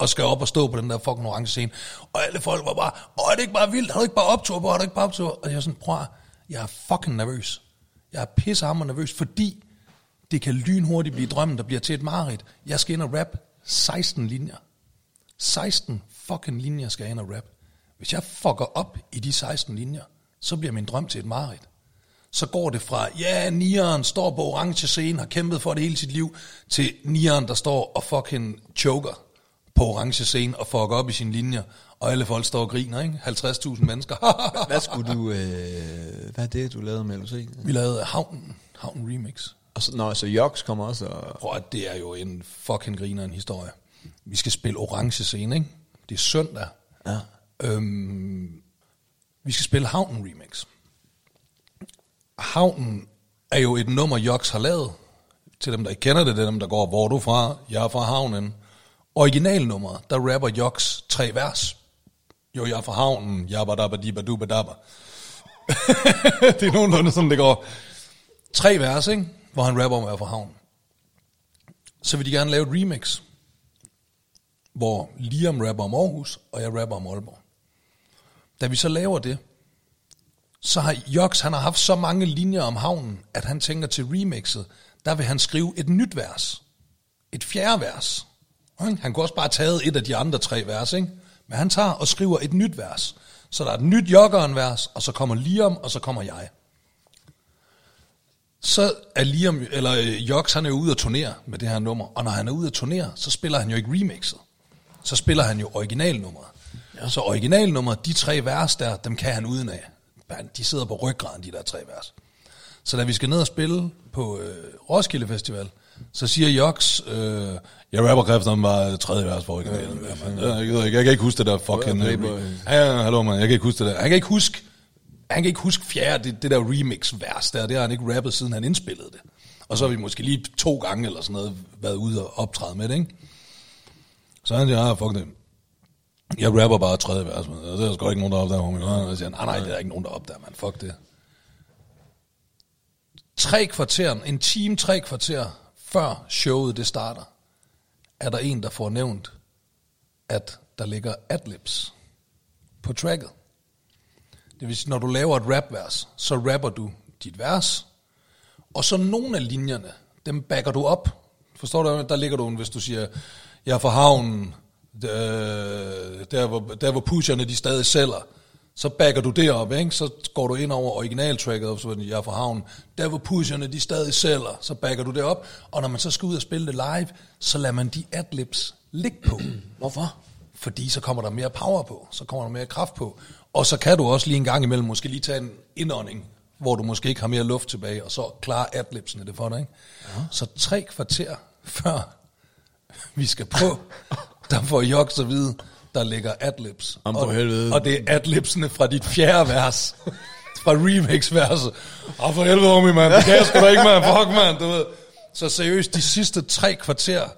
at skal op og stå på den der fucking orange scene. Og alle folk var bare, åh, er det ikke bare vildt? Har du ikke bare optur på? Har du ikke bare optur? Og jeg er sådan, prøv at- jeg er fucking nervøs. Jeg er pissehammer nervøs, fordi det kan lynhurtigt blive drømmen, der bliver til et mareridt. Jeg skal ind og rap 16 linjer. 16 fucking linjer skal jeg ind og rap. Hvis jeg fucker op i de 16 linjer, så bliver min drøm til et mareridt. Så går det fra, ja, nieren står på orange scene, har kæmpet for det hele sit liv, til nieren, der står og fucking choker på orange scene og fucker op i sine linjer, og alle folk står og griner, ikke? 50.000 mennesker.
Hvad skulle du, øh, hvad er det, du lavede med LOC?
Vi lavede Havnen, Havnen Remix.
Og så, nå, så Joks kommer også og...
Prøv at det er jo en fucking griner en historie. Vi skal spille orange scene, ikke? Det er søndag. Ja. Øhm, vi skal spille Havnen Remix. Havnen er jo et nummer, Joks har lavet. Til dem, der ikke kender det, det er dem, der går, hvor er du fra? Jeg er fra Havnen. Originalnummeret, der rapper Joks tre vers. Jo, jeg er fra Havnen. Jabba dabba dibba dubba dabba. det er nogenlunde sådan, det går. Tre vers, ikke? Hvor han rapper om at være fra Havnen så vil de gerne lave et remix, hvor Liam rapper om Aarhus, og jeg rapper om Aalborg. Da vi så laver det, så har Joks, han har haft så mange linjer om havnen, at han tænker til remixet, der vil han skrive et nyt vers. Et fjerde vers. Ikke? Han kunne også bare have taget et af de andre tre vers, ikke? Men han tager og skriver et nyt vers. Så der er et nyt jokkeren vers, og så kommer Liam, og så kommer jeg. så er Liam, eller øh, Joks, han er jo ude at turnere med det her nummer, og når han er ude at turnere, så spiller han jo ikke remixet. Så spiller han jo originalnummeret. Ja. Så originalnummeret, de tre vers der, dem kan han udenad. Man, De sidder på ryggraden, de der tre vers. Så da vi skal ned og spille på øh, Roskilde Festival, så siger Joks, øh, jeg rapper kræfterne var tredje vers på originalen. Ja, man. Jeg, gider ikke, jeg kan ikke huske det der fucking... Øh, re- ja, ja, hallo, man. Jeg kan ikke huske det der. Han kan ikke huske, han kan ikke huske fjerde, det, det der remix-vers der. Det har han ikke rappet, siden han indspillede det. Og så har vi måske lige to gange eller sådan noget været ude og optræde med det, ikke? Så han siger, ah, fuck det. Jeg rapper bare tredje vers, men der er sgu ikke nogen, der opdager, homie. Og så siger han, "Ah, nej, nej, det er der ikke nogen, der opdager, man. Fuck det tre kvarter, en time tre kvarter, før showet det starter, er der en, der får nævnt, at der ligger adlibs på tracket. Det vil sige, når du laver et rapvers, så rapper du dit vers, og så nogle af linjerne, dem backer du op. Forstår du? Der ligger du, en, hvis du siger, jeg er fra havnen, øh, der, hvor, der hvor pusherne de stadig sælger, så backer du det op, ikke? så går du ind over originaltracket, og så er det, jeg er fra havnen, der hvor pusherne de stadig sælger, så backer du det op, og når man så skal ud og spille det live, så lader man de adlibs ligge på. Hvorfor? Fordi så kommer der mere power på, så kommer der mere kraft på, og så kan du også lige en gang imellem måske lige tage en indånding, hvor du måske ikke har mere luft tilbage, og så klarer adlibsene det for dig. Ikke? Ja. Så tre kvarter før vi skal på, der får Joks at vide, der ligger adlibs.
Jamen, for
og,
helvede.
og det er adlibsene fra dit fjerde vers. Fra remix-verset. Åh, for helvede, homie, mand. Det kan jeg sgu da ikke, mand. Fuck, mand. Du ved. Så seriøst, de sidste tre kvarter,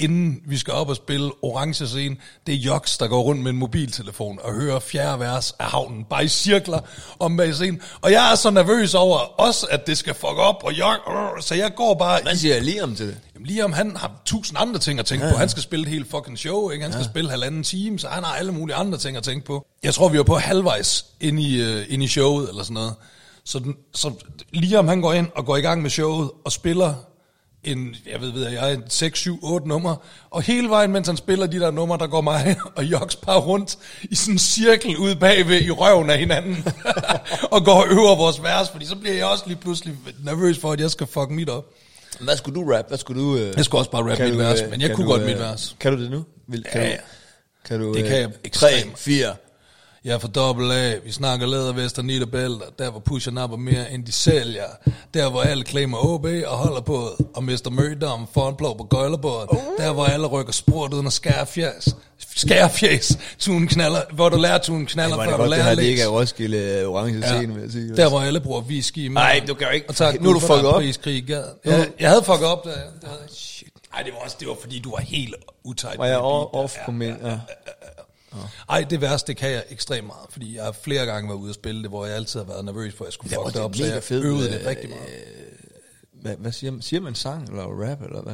inden vi skal op og spille orange scene, det er Joks, der går rundt med en mobiltelefon og hører fjerde vers af havnen, bare i cirkler om bag scenen. Og jeg er så nervøs over også, at det skal fuck op, og Jok, øh, så jeg går bare
Hvad siger jeg lige om til det?
Jamen, lige om han har tusind andre ting at tænke ja. på. Han skal spille et helt fucking show, ikke? Han skal ja. spille halvanden time, så han har alle mulige andre ting at tænke på. Jeg tror, vi var på halvvejs ind i, øh, ind i showet eller sådan noget. Så, den, så lige om han går ind og går i gang med showet og spiller en, jeg ved, ved jeg, en 6, 7, 8 nummer. Og hele vejen, mens han spiller de der numre, der går mig og Joks bare rundt i sådan en cirkel ude bagved i røven af hinanden. og går og øver vores vers, fordi så bliver jeg også lige pludselig nervøs for, at jeg skal fuck mit op.
Hvad skulle du rap? Hvad skulle du... Øh,
Jeg skulle også bare rappe
kan
mit
du,
vers,
øh,
men jeg
kan
kunne
du,
godt
øh,
mit vers.
Kan du det nu? Vil, kan
Ja,
du,
ja.
Kan du, øh,
Det
øh,
kan jeg ekstremt.
3, 4.
Jeg er fra dobbelt A, vi snakker lædervest og nitterbælter, der hvor pusher napper mere end de sælger, der hvor alle claimer OB og holder på, og mister mødom for en blå på gøjlerbåden, der hvor alle rykker sport uden at skære fjæs, skære fjæs, tunen knaller, hvor du lærer tunen knaller,
hvor er
ja,
det
før du
godt, det
lærer
her, det
læs.
ikke er Roskilde øh, Orange Scene, vil jeg sige.
der hvor alle bruger whisky i
Nej,
munden.
du kan jo ikke...
Og tager
nu er du fucket op.
Priskrig i gaden. Jeg, jeg havde fucket op der. ja. Det havde jeg. Ej, det var også, det var fordi, du var helt utight.
Ah, Var jeg over, off på min... Ja.
Ej, det værste, det kan jeg ekstremt meget, fordi jeg har flere gange været ude at spille det, hvor jeg altid har været nervøs for, at jeg skulle
Ja, og
fuck det,
det er
op, så
mega
jeg
fed,
øvede det
øh,
rigtig meget.
Hvad, hvad siger, man? siger man sang eller rap eller hvad?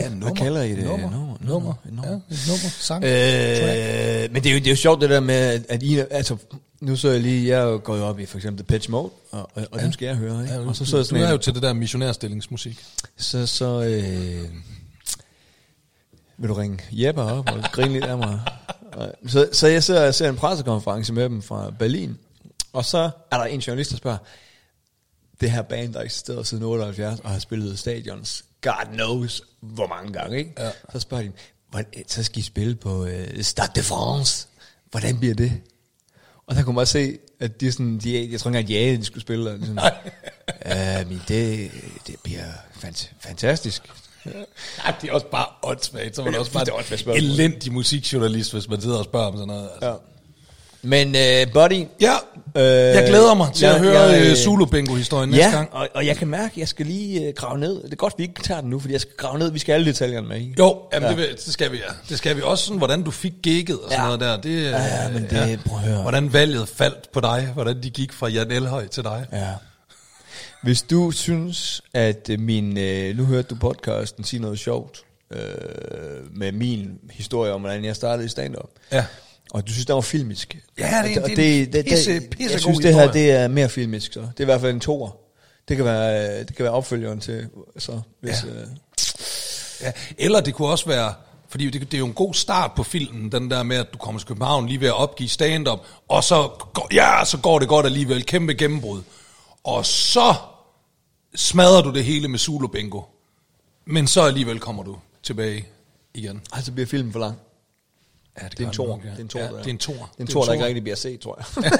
Ja, nummer,
Hvad kalder I det?
Nummer,
Nummer,
nummer,
nummer,
nummer,
nummer.
Ja, et nummer sang.
Øh, men det er, jo, det er jo sjovt det der med, at- at I, altså, nu så jeg lige, jeg går jo op i for eksempel The Pitch Mode, og, og, og ja. dem skal jeg høre, ikke?
Ja,
Ja,
du,
og så så jeg
du
sådan
er
en-
jo til det der missionærstillingsmusik.
Så, så øh, vil du ringe Jeppe op og grine lidt af mig? Og Så, så jeg sidder og ser en pressekonference med dem fra Berlin, og så er der en journalist, der spørger, det her band, der eksisterede siden 78 og har spillet stadions, God knows hvor mange gange, ikke? Ja. Så spørger de, "Hvordan- så skal I spille på øh, Stade de France. Hvordan bliver det? Og der kunne man også se, at de sådan, de, jeg tror ikke engang, de anede, de skulle spille. Og de sådan, Nej. Øh, men det, det bliver fant- fantastisk.
Ja, det er også bare åndssvagt. Så var det også
det er
bare
åndssvagt
en
spørgsmål.
elendig musikjournalist, hvis man sidder og spørger om sådan noget. Altså.
Men uh, buddy,
Ja,
Øh,
jeg glæder mig til
jeg-
at høre
jeg-
øh, Zulu Bingo-historien næste
ja,
gang.
og, og jeg kan mærke, at jeg skal lige uh, grave ned. Det er godt, vi ikke tager den nu, fordi jeg skal grave ned. Vi skal have alle detaljerne med, ikke?
Jo, jamen ja. det, vil- det, skal vi, ja. Det skal vi også sådan, hvordan du fik gigget og sådan
Ja.
noget der. Det, øh,
Ja, men det- prøv at høre.
Hvordan valget faldt på dig, hvordan de gik fra Jan Elhøj til dig.
Ja. Hvis du synes, at øh, min... Øh, nu hørte du podcasten sige noget sjovt øh, med min historie om, hvordan jeg startede i stand-up.
Ja.
Og du synes, den var filmisk.
Ja, det er en-
Og
det er en pisse-
Jeg
pissegod
synes, det her
historie.
det er mere filmisk. Så. Det er i hvert fald en toer. Det kan være, øh, det kan være opfølgeren til... Så, hvis, ja. øh,
Ja, eller det kunne også være, fordi det, det er jo en god start på filmen, den der med, at du kommer til København lige ved at opgive stand-up, og så går, ja, så går det godt alligevel, kæmpe gennembrud. Og så smadrer du det hele med Zulu Bingo. Men så alligevel kommer du tilbage igen.
Ej, så bliver filmen for lang.
Ja, det,
Det er en
gør
tor.
den nok,
Det er en tor,
ja,
der-
det er en tor.
Det er en tor, der ikke rigtig bliver set, tror jeg.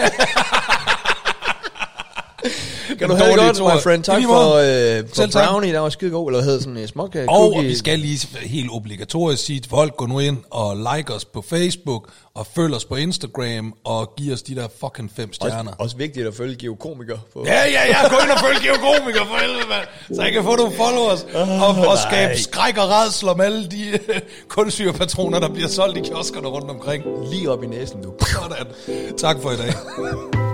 kan du
En
have det
dårlig
godt,
toer.
my friend.
I
Tak
lige
for,
måde.
øh,
Selv
for
tak.
brownie, der var skide god. Eller hvad hed sådan en smuk øh,
Og,
cookie?
og vi skal lige helt obligatorisk sige, at folk går nu ind og like os på Facebook, og følg os på Instagram, og giver os de der fucking fem stjerner.
også, også vigtigt at følge geokomiker. På.
Ja, ja, ja, gå ind og følg Geokomiker for helvede, mand. Så jeg kan få nogle followers, og, og skabe skræk og redsel om alle de øh, kulsyrepatroner, der bliver solgt i kioskerne rundt omkring.
Lige op i næsen, du.
Sådan. Tak for i dag.